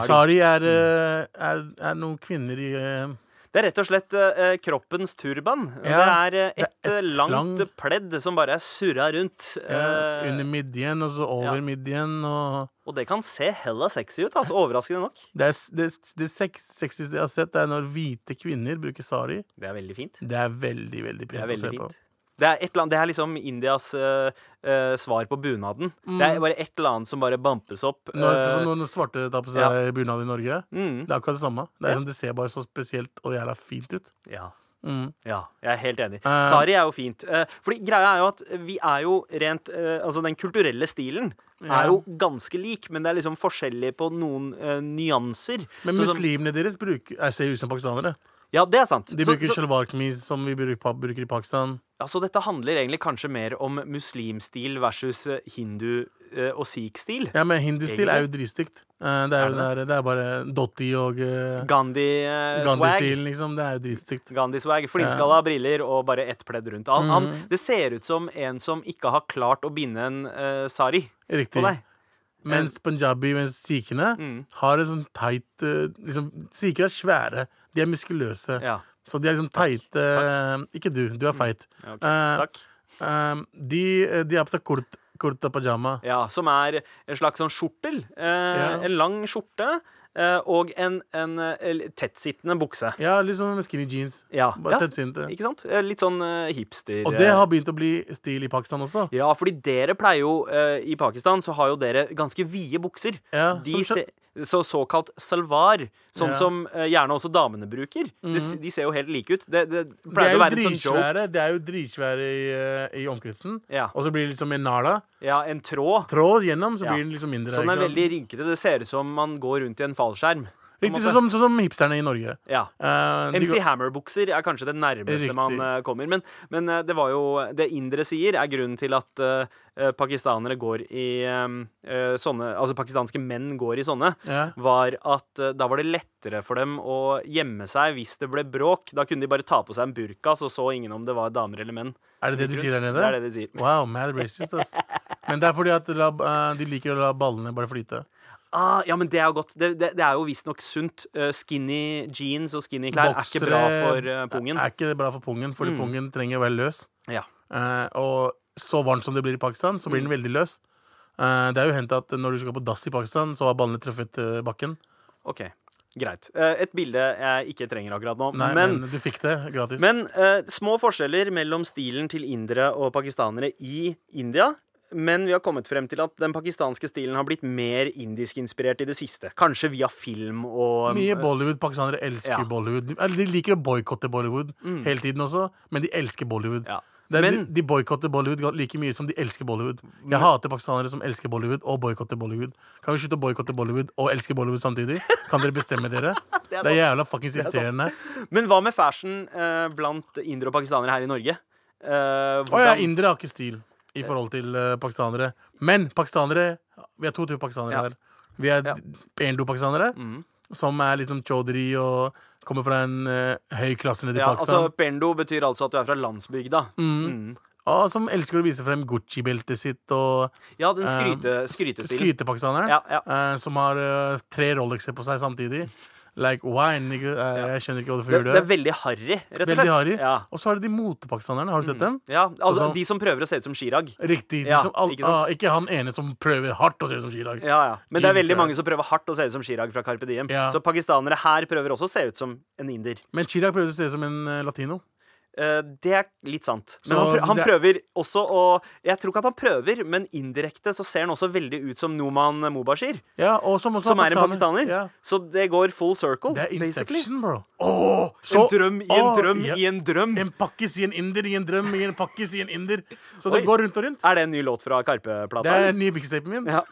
[SPEAKER 3] Sari. Mm.
[SPEAKER 5] sari er, eh, er, er noen kvinner i eh,
[SPEAKER 3] Det er rett og slett eh, kroppens turban.
[SPEAKER 5] Ja,
[SPEAKER 3] det er eh,
[SPEAKER 5] det
[SPEAKER 3] et,
[SPEAKER 5] er et
[SPEAKER 3] eh, langt
[SPEAKER 5] lang-
[SPEAKER 3] pledd som bare er surra rundt.
[SPEAKER 5] eh,
[SPEAKER 3] eh,
[SPEAKER 5] under midjen og så over
[SPEAKER 3] ja.
[SPEAKER 5] midjen og
[SPEAKER 3] og det kan se hella sexy ut, altså. Overraskende nok.
[SPEAKER 5] Det, er, s- det, det sex, sexieste jeg har sett, det er når hvite kvinner bruker sari.
[SPEAKER 3] Det er veldig fint.
[SPEAKER 5] Det er veldig,
[SPEAKER 3] Det
[SPEAKER 5] veldig
[SPEAKER 3] er
[SPEAKER 5] pent å se
[SPEAKER 3] veldig
[SPEAKER 5] på.
[SPEAKER 3] fint. Det er, et eller annet, det er liksom Indias eh, eh, svar på bunaden. Det
[SPEAKER 5] Mm.
[SPEAKER 3] er bare et eller annet som bare bampes opp.
[SPEAKER 5] Når,
[SPEAKER 3] eh,
[SPEAKER 5] sånn når noen svarte tar på seg
[SPEAKER 3] ja.
[SPEAKER 5] bunad i Norge,
[SPEAKER 3] Mm.
[SPEAKER 5] det er akkurat det samme. Det, er,
[SPEAKER 3] Ja.
[SPEAKER 5] sånn, det ser bare så spesielt og jævla fint ut.
[SPEAKER 3] ja.
[SPEAKER 5] Mm.
[SPEAKER 3] Ja, jeg er helt enig. Sari er jo fint. Eh, Fordi greia er jo at vi er jo rent eh, Altså, den kulturelle stilen
[SPEAKER 5] Ja.
[SPEAKER 3] er jo ganske lik, men det er liksom forskjellig på noen eh, nyanser.
[SPEAKER 5] Men
[SPEAKER 3] Sånn som-
[SPEAKER 5] muslimene deres bruker, jeg ser ut som pakistanere.
[SPEAKER 3] Ja, det er sant.
[SPEAKER 5] De
[SPEAKER 3] så,
[SPEAKER 5] bruker
[SPEAKER 3] så,
[SPEAKER 5] sjalvarkamis som vi bruker, pa- bruker i Pakistan.
[SPEAKER 3] ja, så dette handler egentlig kanskje mer om muslimstil versus eh, hindu- eh, og sikh-stil.
[SPEAKER 5] Ja, men hindustil er jo dritstygt. Eh, Det er,
[SPEAKER 3] Er
[SPEAKER 5] jo
[SPEAKER 3] det
[SPEAKER 5] der, det er bare dotti og eh,
[SPEAKER 3] Gandhi-swag.
[SPEAKER 5] Gandhi-stilen, liksom. Det er jo dritstygt.
[SPEAKER 3] Gandhi-swag. Flintskalla briller og bare ett pledd rundt. Han, han,
[SPEAKER 5] Mm.
[SPEAKER 3] det ser ut som en som ikke har klart å binde en eh, sari på
[SPEAKER 5] Riktig.
[SPEAKER 3] deg. Eh,
[SPEAKER 5] Mens punjabi, mens sikhene,
[SPEAKER 3] mm.
[SPEAKER 5] har en sånn teit eh, liksom, Sikher er svære. De er muskuløse.
[SPEAKER 3] Ja. Mm.
[SPEAKER 5] Så de er liksom teite eh, Ikke du, du er feit.
[SPEAKER 3] ok.
[SPEAKER 5] Eh,
[SPEAKER 3] Takk.
[SPEAKER 5] eh, de, de har på seg kurt, kurta pajama.
[SPEAKER 3] Ja, som er en slags sånn skjortel. Eh,
[SPEAKER 5] Ja.
[SPEAKER 3] En lang skjorte eh, og en, en eh, tettsittende bukse.
[SPEAKER 5] Ja, liksom skinny jeans.
[SPEAKER 3] Ja.
[SPEAKER 5] Bare
[SPEAKER 3] ja.
[SPEAKER 5] tettsinte.
[SPEAKER 3] Ikke sant? Eh, Litt sånn eh, hipster.
[SPEAKER 5] Og det
[SPEAKER 3] eh.
[SPEAKER 5] har begynt å bli stil i Pakistan også.
[SPEAKER 3] Ja, fordi dere pleier jo eh, I Pakistan så har jo dere ganske vide bukser.
[SPEAKER 5] Ja,
[SPEAKER 3] de
[SPEAKER 5] som
[SPEAKER 3] se,
[SPEAKER 5] skjø-
[SPEAKER 3] så såkalt salvar, sånn
[SPEAKER 5] Ja. Mm.
[SPEAKER 3] som eh, gjerne også damene bruker. De, s- de ser jo helt like ut. Det, det
[SPEAKER 5] De er
[SPEAKER 3] pleier å
[SPEAKER 5] jo
[SPEAKER 3] være en sånn joke.
[SPEAKER 5] dritsvære, det er jo dritsvære i, eh, i omkretsen.
[SPEAKER 3] Ja.
[SPEAKER 5] Og så blir det liksom en nala.
[SPEAKER 3] Ja, en tråd.
[SPEAKER 5] Tråd gjennom, så
[SPEAKER 3] Ja.
[SPEAKER 5] blir den liksom mindre.
[SPEAKER 3] Sånn er
[SPEAKER 5] ikke sant?
[SPEAKER 3] veldig rynkete. Det ser ut som man går rundt i en fallskjerm. på en
[SPEAKER 5] Riktig
[SPEAKER 3] måte.
[SPEAKER 5] sånn som, sånn som hipsterne i Norge.
[SPEAKER 3] ja.
[SPEAKER 5] Eh, de
[SPEAKER 3] MC
[SPEAKER 5] går-
[SPEAKER 3] Hammer-bukser er kanskje det nærmeste
[SPEAKER 5] Riktig.
[SPEAKER 3] man eh, kommer. Men, men eh, det var jo det indere sier, er grunnen til at eh, eh, pakistanere går i eh, eh, sånne Altså pakistanske menn går i sånne.
[SPEAKER 5] Ja.
[SPEAKER 3] Var at eh, da var det lettere for dem å gjemme seg hvis det ble bråk. Da kunne de bare ta på seg en burka, så så ingen om det var damer eller menn.
[SPEAKER 5] Er det det de
[SPEAKER 3] Rundt.
[SPEAKER 5] sier der nede?
[SPEAKER 3] Det er det de sier.
[SPEAKER 5] Wow, mad racist, ass. Men det er fordi at la, eh, de liker å la ballene bare flyte.
[SPEAKER 3] Ah, ja, men det er jo godt. Det, det, det er jo visstnok sunt. Eh, Skinny jeans og skinny klær er ikke bra for eh, pungen. Mm.
[SPEAKER 5] Er ikke bra for pungen, fordi pungen trenger å være løs.
[SPEAKER 3] Ja.
[SPEAKER 5] Eh, og så varmt som det blir i Pakistan, så blir
[SPEAKER 3] Mm.
[SPEAKER 5] den veldig løs. Eh, det er jo hendt at når du skal på dass i Pakistan, så har ballene truffet eh, bakken.
[SPEAKER 3] OK, greit. Eh, et bilde jeg ikke trenger akkurat nå.
[SPEAKER 5] Nei, men,
[SPEAKER 3] men
[SPEAKER 5] du fikk det gratis.
[SPEAKER 3] Men eh, små forskjeller mellom stilen til indere og pakistanere i India. Men vi har kommet frem til at den pakistanske stilen har blitt mer indiskinspirert i det siste. Kanskje via film og
[SPEAKER 5] Mye Bollywood. Pakistanere elsker
[SPEAKER 3] Ja. Mm.
[SPEAKER 5] Bollywood. De, eller de liker å boikotte Bollywood hele tiden også, men de elsker Bollywood.
[SPEAKER 3] Ja.
[SPEAKER 5] Det er,
[SPEAKER 3] Men-
[SPEAKER 5] de de boikotter Bollywood ga- like mye som de elsker Bollywood. Jeg hater pakistanere som elsker Bollywood og boikotter Bollywood. Kan vi slutte å boikotte Bollywood og elske Bollywood samtidig? Kan dere bestemme dere? det, er
[SPEAKER 3] sant.
[SPEAKER 5] jævla fuckings
[SPEAKER 3] sant.
[SPEAKER 5] irriterende.
[SPEAKER 3] Men hva med fashion eh, blant indere og pakistanere her i Norge? Eh,
[SPEAKER 5] Å ja,
[SPEAKER 3] hvordan-
[SPEAKER 5] indere har ikke stil i forhold til eh, pakistanere. Men pakistanere Vi er to typer pakistanere
[SPEAKER 3] Ja.
[SPEAKER 5] her. Vi er
[SPEAKER 3] Ja. Mm.
[SPEAKER 5] pendo-pakistanere, som er liksom chaudhry og kommer fra en eh, høy klasse nede i
[SPEAKER 3] ja,
[SPEAKER 5] Pakistan.
[SPEAKER 3] altså, Pendo betyr altså at du er fra landsbygda. Mm.
[SPEAKER 5] Og som elsker å vise frem Gucci-beltet sitt og
[SPEAKER 3] Ja, den skryte,
[SPEAKER 5] eh,
[SPEAKER 3] skrytestilen.
[SPEAKER 5] skrytepakistaneren.
[SPEAKER 3] Ja, ja.
[SPEAKER 5] eh, som har eh, tre Rolexer på seg samtidig. Like wine, nigga. Eh, Jeg skjønner ikke hva du
[SPEAKER 3] Det,
[SPEAKER 5] får
[SPEAKER 3] det er
[SPEAKER 5] gjøre.
[SPEAKER 3] veldig harry, rett og slett.
[SPEAKER 5] Veldig harry.
[SPEAKER 3] Ja.
[SPEAKER 5] Og så har du de motepakistanerne. Har du sett dem?
[SPEAKER 3] Ja, altså,
[SPEAKER 5] Og så-
[SPEAKER 3] de som prøver å se ut som Chirag.
[SPEAKER 5] Riktig. De
[SPEAKER 3] Ja,
[SPEAKER 5] som al
[SPEAKER 3] ikke
[SPEAKER 5] ikke,
[SPEAKER 3] sant?
[SPEAKER 5] ah, ikke han ene som prøver hardt å se ut som Chirag.
[SPEAKER 3] Ja, ja. Men det er
[SPEAKER 5] Jesus
[SPEAKER 3] veldig
[SPEAKER 5] Christ.
[SPEAKER 3] mange som prøver hardt å se ut som Chirag fra Carpe Diem.
[SPEAKER 5] Ja.
[SPEAKER 3] Så pakistanere her prøver også å se ut som en inder.
[SPEAKER 5] Men Chirag prøvde å se ut som en eh, latino.
[SPEAKER 3] Eh, det er litt sant. Men
[SPEAKER 5] Så
[SPEAKER 3] han, prø han
[SPEAKER 5] det-
[SPEAKER 3] prøver også å Jeg tror ikke at han prøver, men indirekte så ser han også veldig ut som Noman Mubashir,
[SPEAKER 5] Ja, og som også
[SPEAKER 3] som er en
[SPEAKER 5] pakistaner.
[SPEAKER 3] pakistaner.
[SPEAKER 5] Ja.
[SPEAKER 3] Så det går full circle,
[SPEAKER 5] Det er
[SPEAKER 3] basically.
[SPEAKER 5] Inception, bro.
[SPEAKER 3] en drøm i en
[SPEAKER 5] Åh,
[SPEAKER 3] drøm
[SPEAKER 5] ja.
[SPEAKER 3] i en drøm.
[SPEAKER 5] En pakkis i en inder i en drøm i en pakkis i en inder. Så
[SPEAKER 3] Oi.
[SPEAKER 5] det går rundt og rundt.
[SPEAKER 3] Er det en ny låt fra Karpe-plata?
[SPEAKER 5] Det er den nye mixtapen min.
[SPEAKER 3] Ja.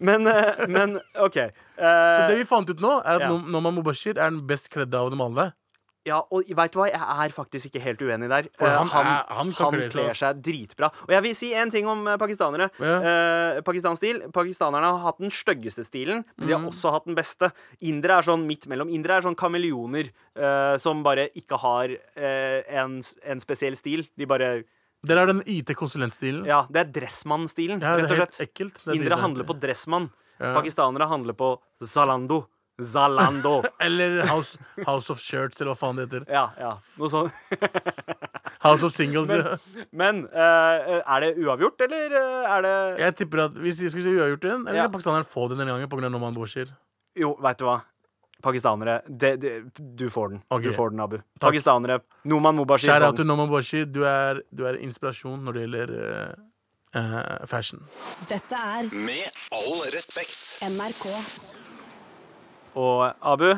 [SPEAKER 3] Men, eh, men OK. Eh,
[SPEAKER 5] Så det vi fant ut nå, er at
[SPEAKER 3] Ja.
[SPEAKER 5] No- Noman Mubashir er den best kledde av dem alle.
[SPEAKER 3] Ja, og veit du hva, jeg er faktisk ikke helt uenig der.
[SPEAKER 5] For
[SPEAKER 3] Eh,
[SPEAKER 5] han er- han kan
[SPEAKER 3] han
[SPEAKER 5] kle seg,
[SPEAKER 3] kler
[SPEAKER 5] ass.
[SPEAKER 3] seg dritbra. Og jeg vil si en ting om eh, pakistanere.
[SPEAKER 5] Ja.
[SPEAKER 3] Eh, pakistansk stil. Pakistanerne har hatt den styggeste stilen, men
[SPEAKER 5] Mm.
[SPEAKER 3] de har også hatt den beste. Indere er sånn midt mellom. Indere er sånn kameleoner eh, som bare ikke har eh, en, en spesiell stil. De bare
[SPEAKER 5] Dere er den IT-konsulentstilen.
[SPEAKER 3] Ja, det er dressmann-stilen,
[SPEAKER 5] Ja,
[SPEAKER 3] rett
[SPEAKER 5] det er
[SPEAKER 3] og
[SPEAKER 5] helt
[SPEAKER 3] slett.
[SPEAKER 5] ekkelt. Det er
[SPEAKER 3] Indere
[SPEAKER 5] dritbra
[SPEAKER 3] handler
[SPEAKER 5] stil.
[SPEAKER 3] på dressmann.
[SPEAKER 5] Ja.
[SPEAKER 3] Pakistanere handler på zalando. Zalando.
[SPEAKER 5] Eller House, House of Shirts, eller hva faen det heter.
[SPEAKER 3] ja, ja. Noe sånn. sånt.
[SPEAKER 5] House of Singles. ja.
[SPEAKER 3] Men eh, er det uavgjort, eller eh, er det
[SPEAKER 5] Jeg tipper at hvis vi skal vi gjøre gjort den, eller
[SPEAKER 3] Ja.
[SPEAKER 5] skal pakistaneren få den denne gangen pga. Noman Mubashir?
[SPEAKER 3] Jo, veit du hva? Pakistanere, det, det, du får den.
[SPEAKER 5] Ok.
[SPEAKER 3] Du får den, Abu. Pakistanere. Noman Mubashir
[SPEAKER 5] Shout out
[SPEAKER 3] får
[SPEAKER 5] til
[SPEAKER 3] den.
[SPEAKER 5] Noman Mubashir. Du er, du er inspirasjon når det gjelder eh, eh, fashion.
[SPEAKER 8] Dette er
[SPEAKER 1] Med all respekt.
[SPEAKER 8] NRK.
[SPEAKER 3] Og Abu,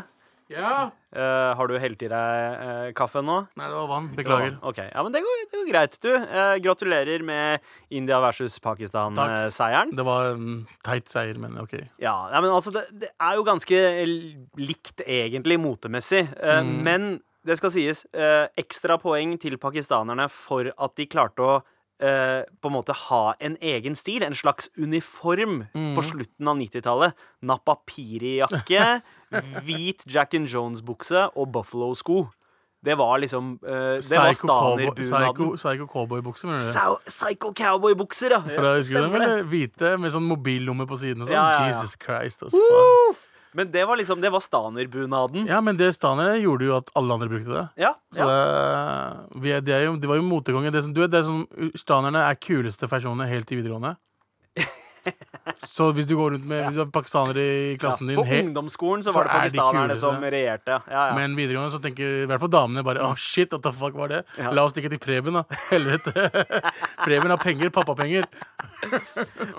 [SPEAKER 5] Ja!
[SPEAKER 3] eh, har du helt i deg eh, kaffe nå?
[SPEAKER 5] Nei, det var vann. Beklager.
[SPEAKER 3] Ok, ja, men det går, det går greit, du. Eh, gratulerer med India versus eh,
[SPEAKER 5] Takk.
[SPEAKER 3] Pakistan-seieren.
[SPEAKER 5] Det var en teit seier, men OK.
[SPEAKER 3] Ja, ja, men altså, det, det er jo ganske eh, likt, egentlig, motemessig. Eh,
[SPEAKER 5] Mm.
[SPEAKER 3] Men det skal sies, eh, ekstra poeng til pakistanerne for at de klarte å eh, på en måte ha en egen stil, en slags uniform,
[SPEAKER 5] Mm.
[SPEAKER 3] på slutten av 90-tallet. Napapiri-jakke, hvit Jack and Jones-bukse og Buffalo-sko. Det var liksom eh, Det var
[SPEAKER 5] Psycho cowboy-
[SPEAKER 3] stanerbunaden.
[SPEAKER 5] psycho- Psycho cowboy-bukse, mener du?
[SPEAKER 3] Sau- Psycho cowboy-bukser, ja.
[SPEAKER 5] Fra, husker du dem,
[SPEAKER 3] Stemmer det.
[SPEAKER 5] eller? Hvite med sånn mobillomme på siden og sånn.
[SPEAKER 3] Ja, ja, ja.
[SPEAKER 5] Jesus Christ, ass. Faen.
[SPEAKER 3] Uff! Men det var liksom, det var stanerbunaden.
[SPEAKER 5] Ja, men det stanere gjorde jo at alle andre brukte det.
[SPEAKER 3] Ja,
[SPEAKER 5] Så det, vi er, det, er jo, det var jo motekonge. Det, som- du vet, det er sånn, Stanerne er kuleste personene helt til videregående. Så hvis du går rundt med Hvis du har pakistanere i klassen
[SPEAKER 3] Ja,
[SPEAKER 5] din,
[SPEAKER 3] På
[SPEAKER 5] he-
[SPEAKER 3] ungdomsskolen så
[SPEAKER 5] så
[SPEAKER 3] var det
[SPEAKER 5] er de
[SPEAKER 3] pakistanerne
[SPEAKER 5] kuleste.
[SPEAKER 3] som regjerte. Ja, ja.
[SPEAKER 5] men videregående, så tenker i hvert fall damene bare Å, shit, what the fuck var det?
[SPEAKER 3] Ja.
[SPEAKER 5] La oss stikke til Preben, da. Helvete. Preben har penger, pappapenger.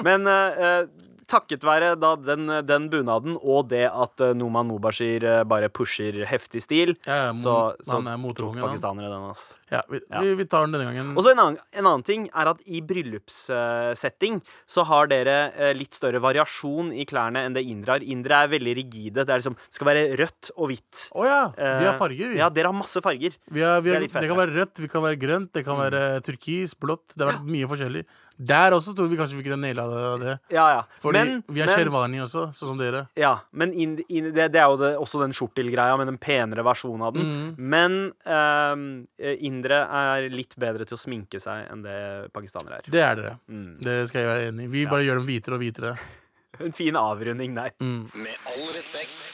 [SPEAKER 3] Men eh, eh, takket være da den, den bunaden og det at eh, Noman Mubashir eh, bare pusher heftig stil,
[SPEAKER 5] Ja, ja,
[SPEAKER 3] så,
[SPEAKER 5] mo-
[SPEAKER 3] så
[SPEAKER 5] han er motekongen,
[SPEAKER 3] tok
[SPEAKER 5] han. Mm.
[SPEAKER 3] pakistanere den. ass
[SPEAKER 5] Ja, vi,
[SPEAKER 3] Ja.
[SPEAKER 5] Vi, vi tar den denne gangen.
[SPEAKER 3] Og så en, annen- en annen ting er at i bryllupssetting så har dere eh, litt større variasjon i klærne enn det indre har. Indre er veldig rigide. Det er liksom, det skal være rødt og hvitt.
[SPEAKER 5] Å ja! Vi har
[SPEAKER 3] Eh,
[SPEAKER 5] farger, vi.
[SPEAKER 3] Ja, dere har masse farger.
[SPEAKER 5] Vi er, vi
[SPEAKER 3] Det
[SPEAKER 5] er,
[SPEAKER 3] er litt
[SPEAKER 5] det,
[SPEAKER 3] fett, ja.
[SPEAKER 5] kan
[SPEAKER 3] Mm.
[SPEAKER 5] være rødt, vi kan være grønt, det kan være turkis, blått. Det har vært mye forskjellig. Der også tror vi kanskje vi kunne naila det- det.
[SPEAKER 3] Ja, ja.
[SPEAKER 5] Fordi
[SPEAKER 3] Men,
[SPEAKER 5] vi er
[SPEAKER 3] men,
[SPEAKER 5] Sherwani også, sånn som dere.
[SPEAKER 3] ja, men indi- indi- det, det er jo det, også den skjortelgreia, men en penere versjon av den. Men ehm, eh, indere er litt bedre til å sminke seg enn det pakistanere er.
[SPEAKER 5] Det er dere.
[SPEAKER 3] Mm.
[SPEAKER 5] Det skal jeg være enig i. Vi bare gjør dem hvitere og hvitere.
[SPEAKER 3] En fin avrunding der.
[SPEAKER 1] Med all respekt.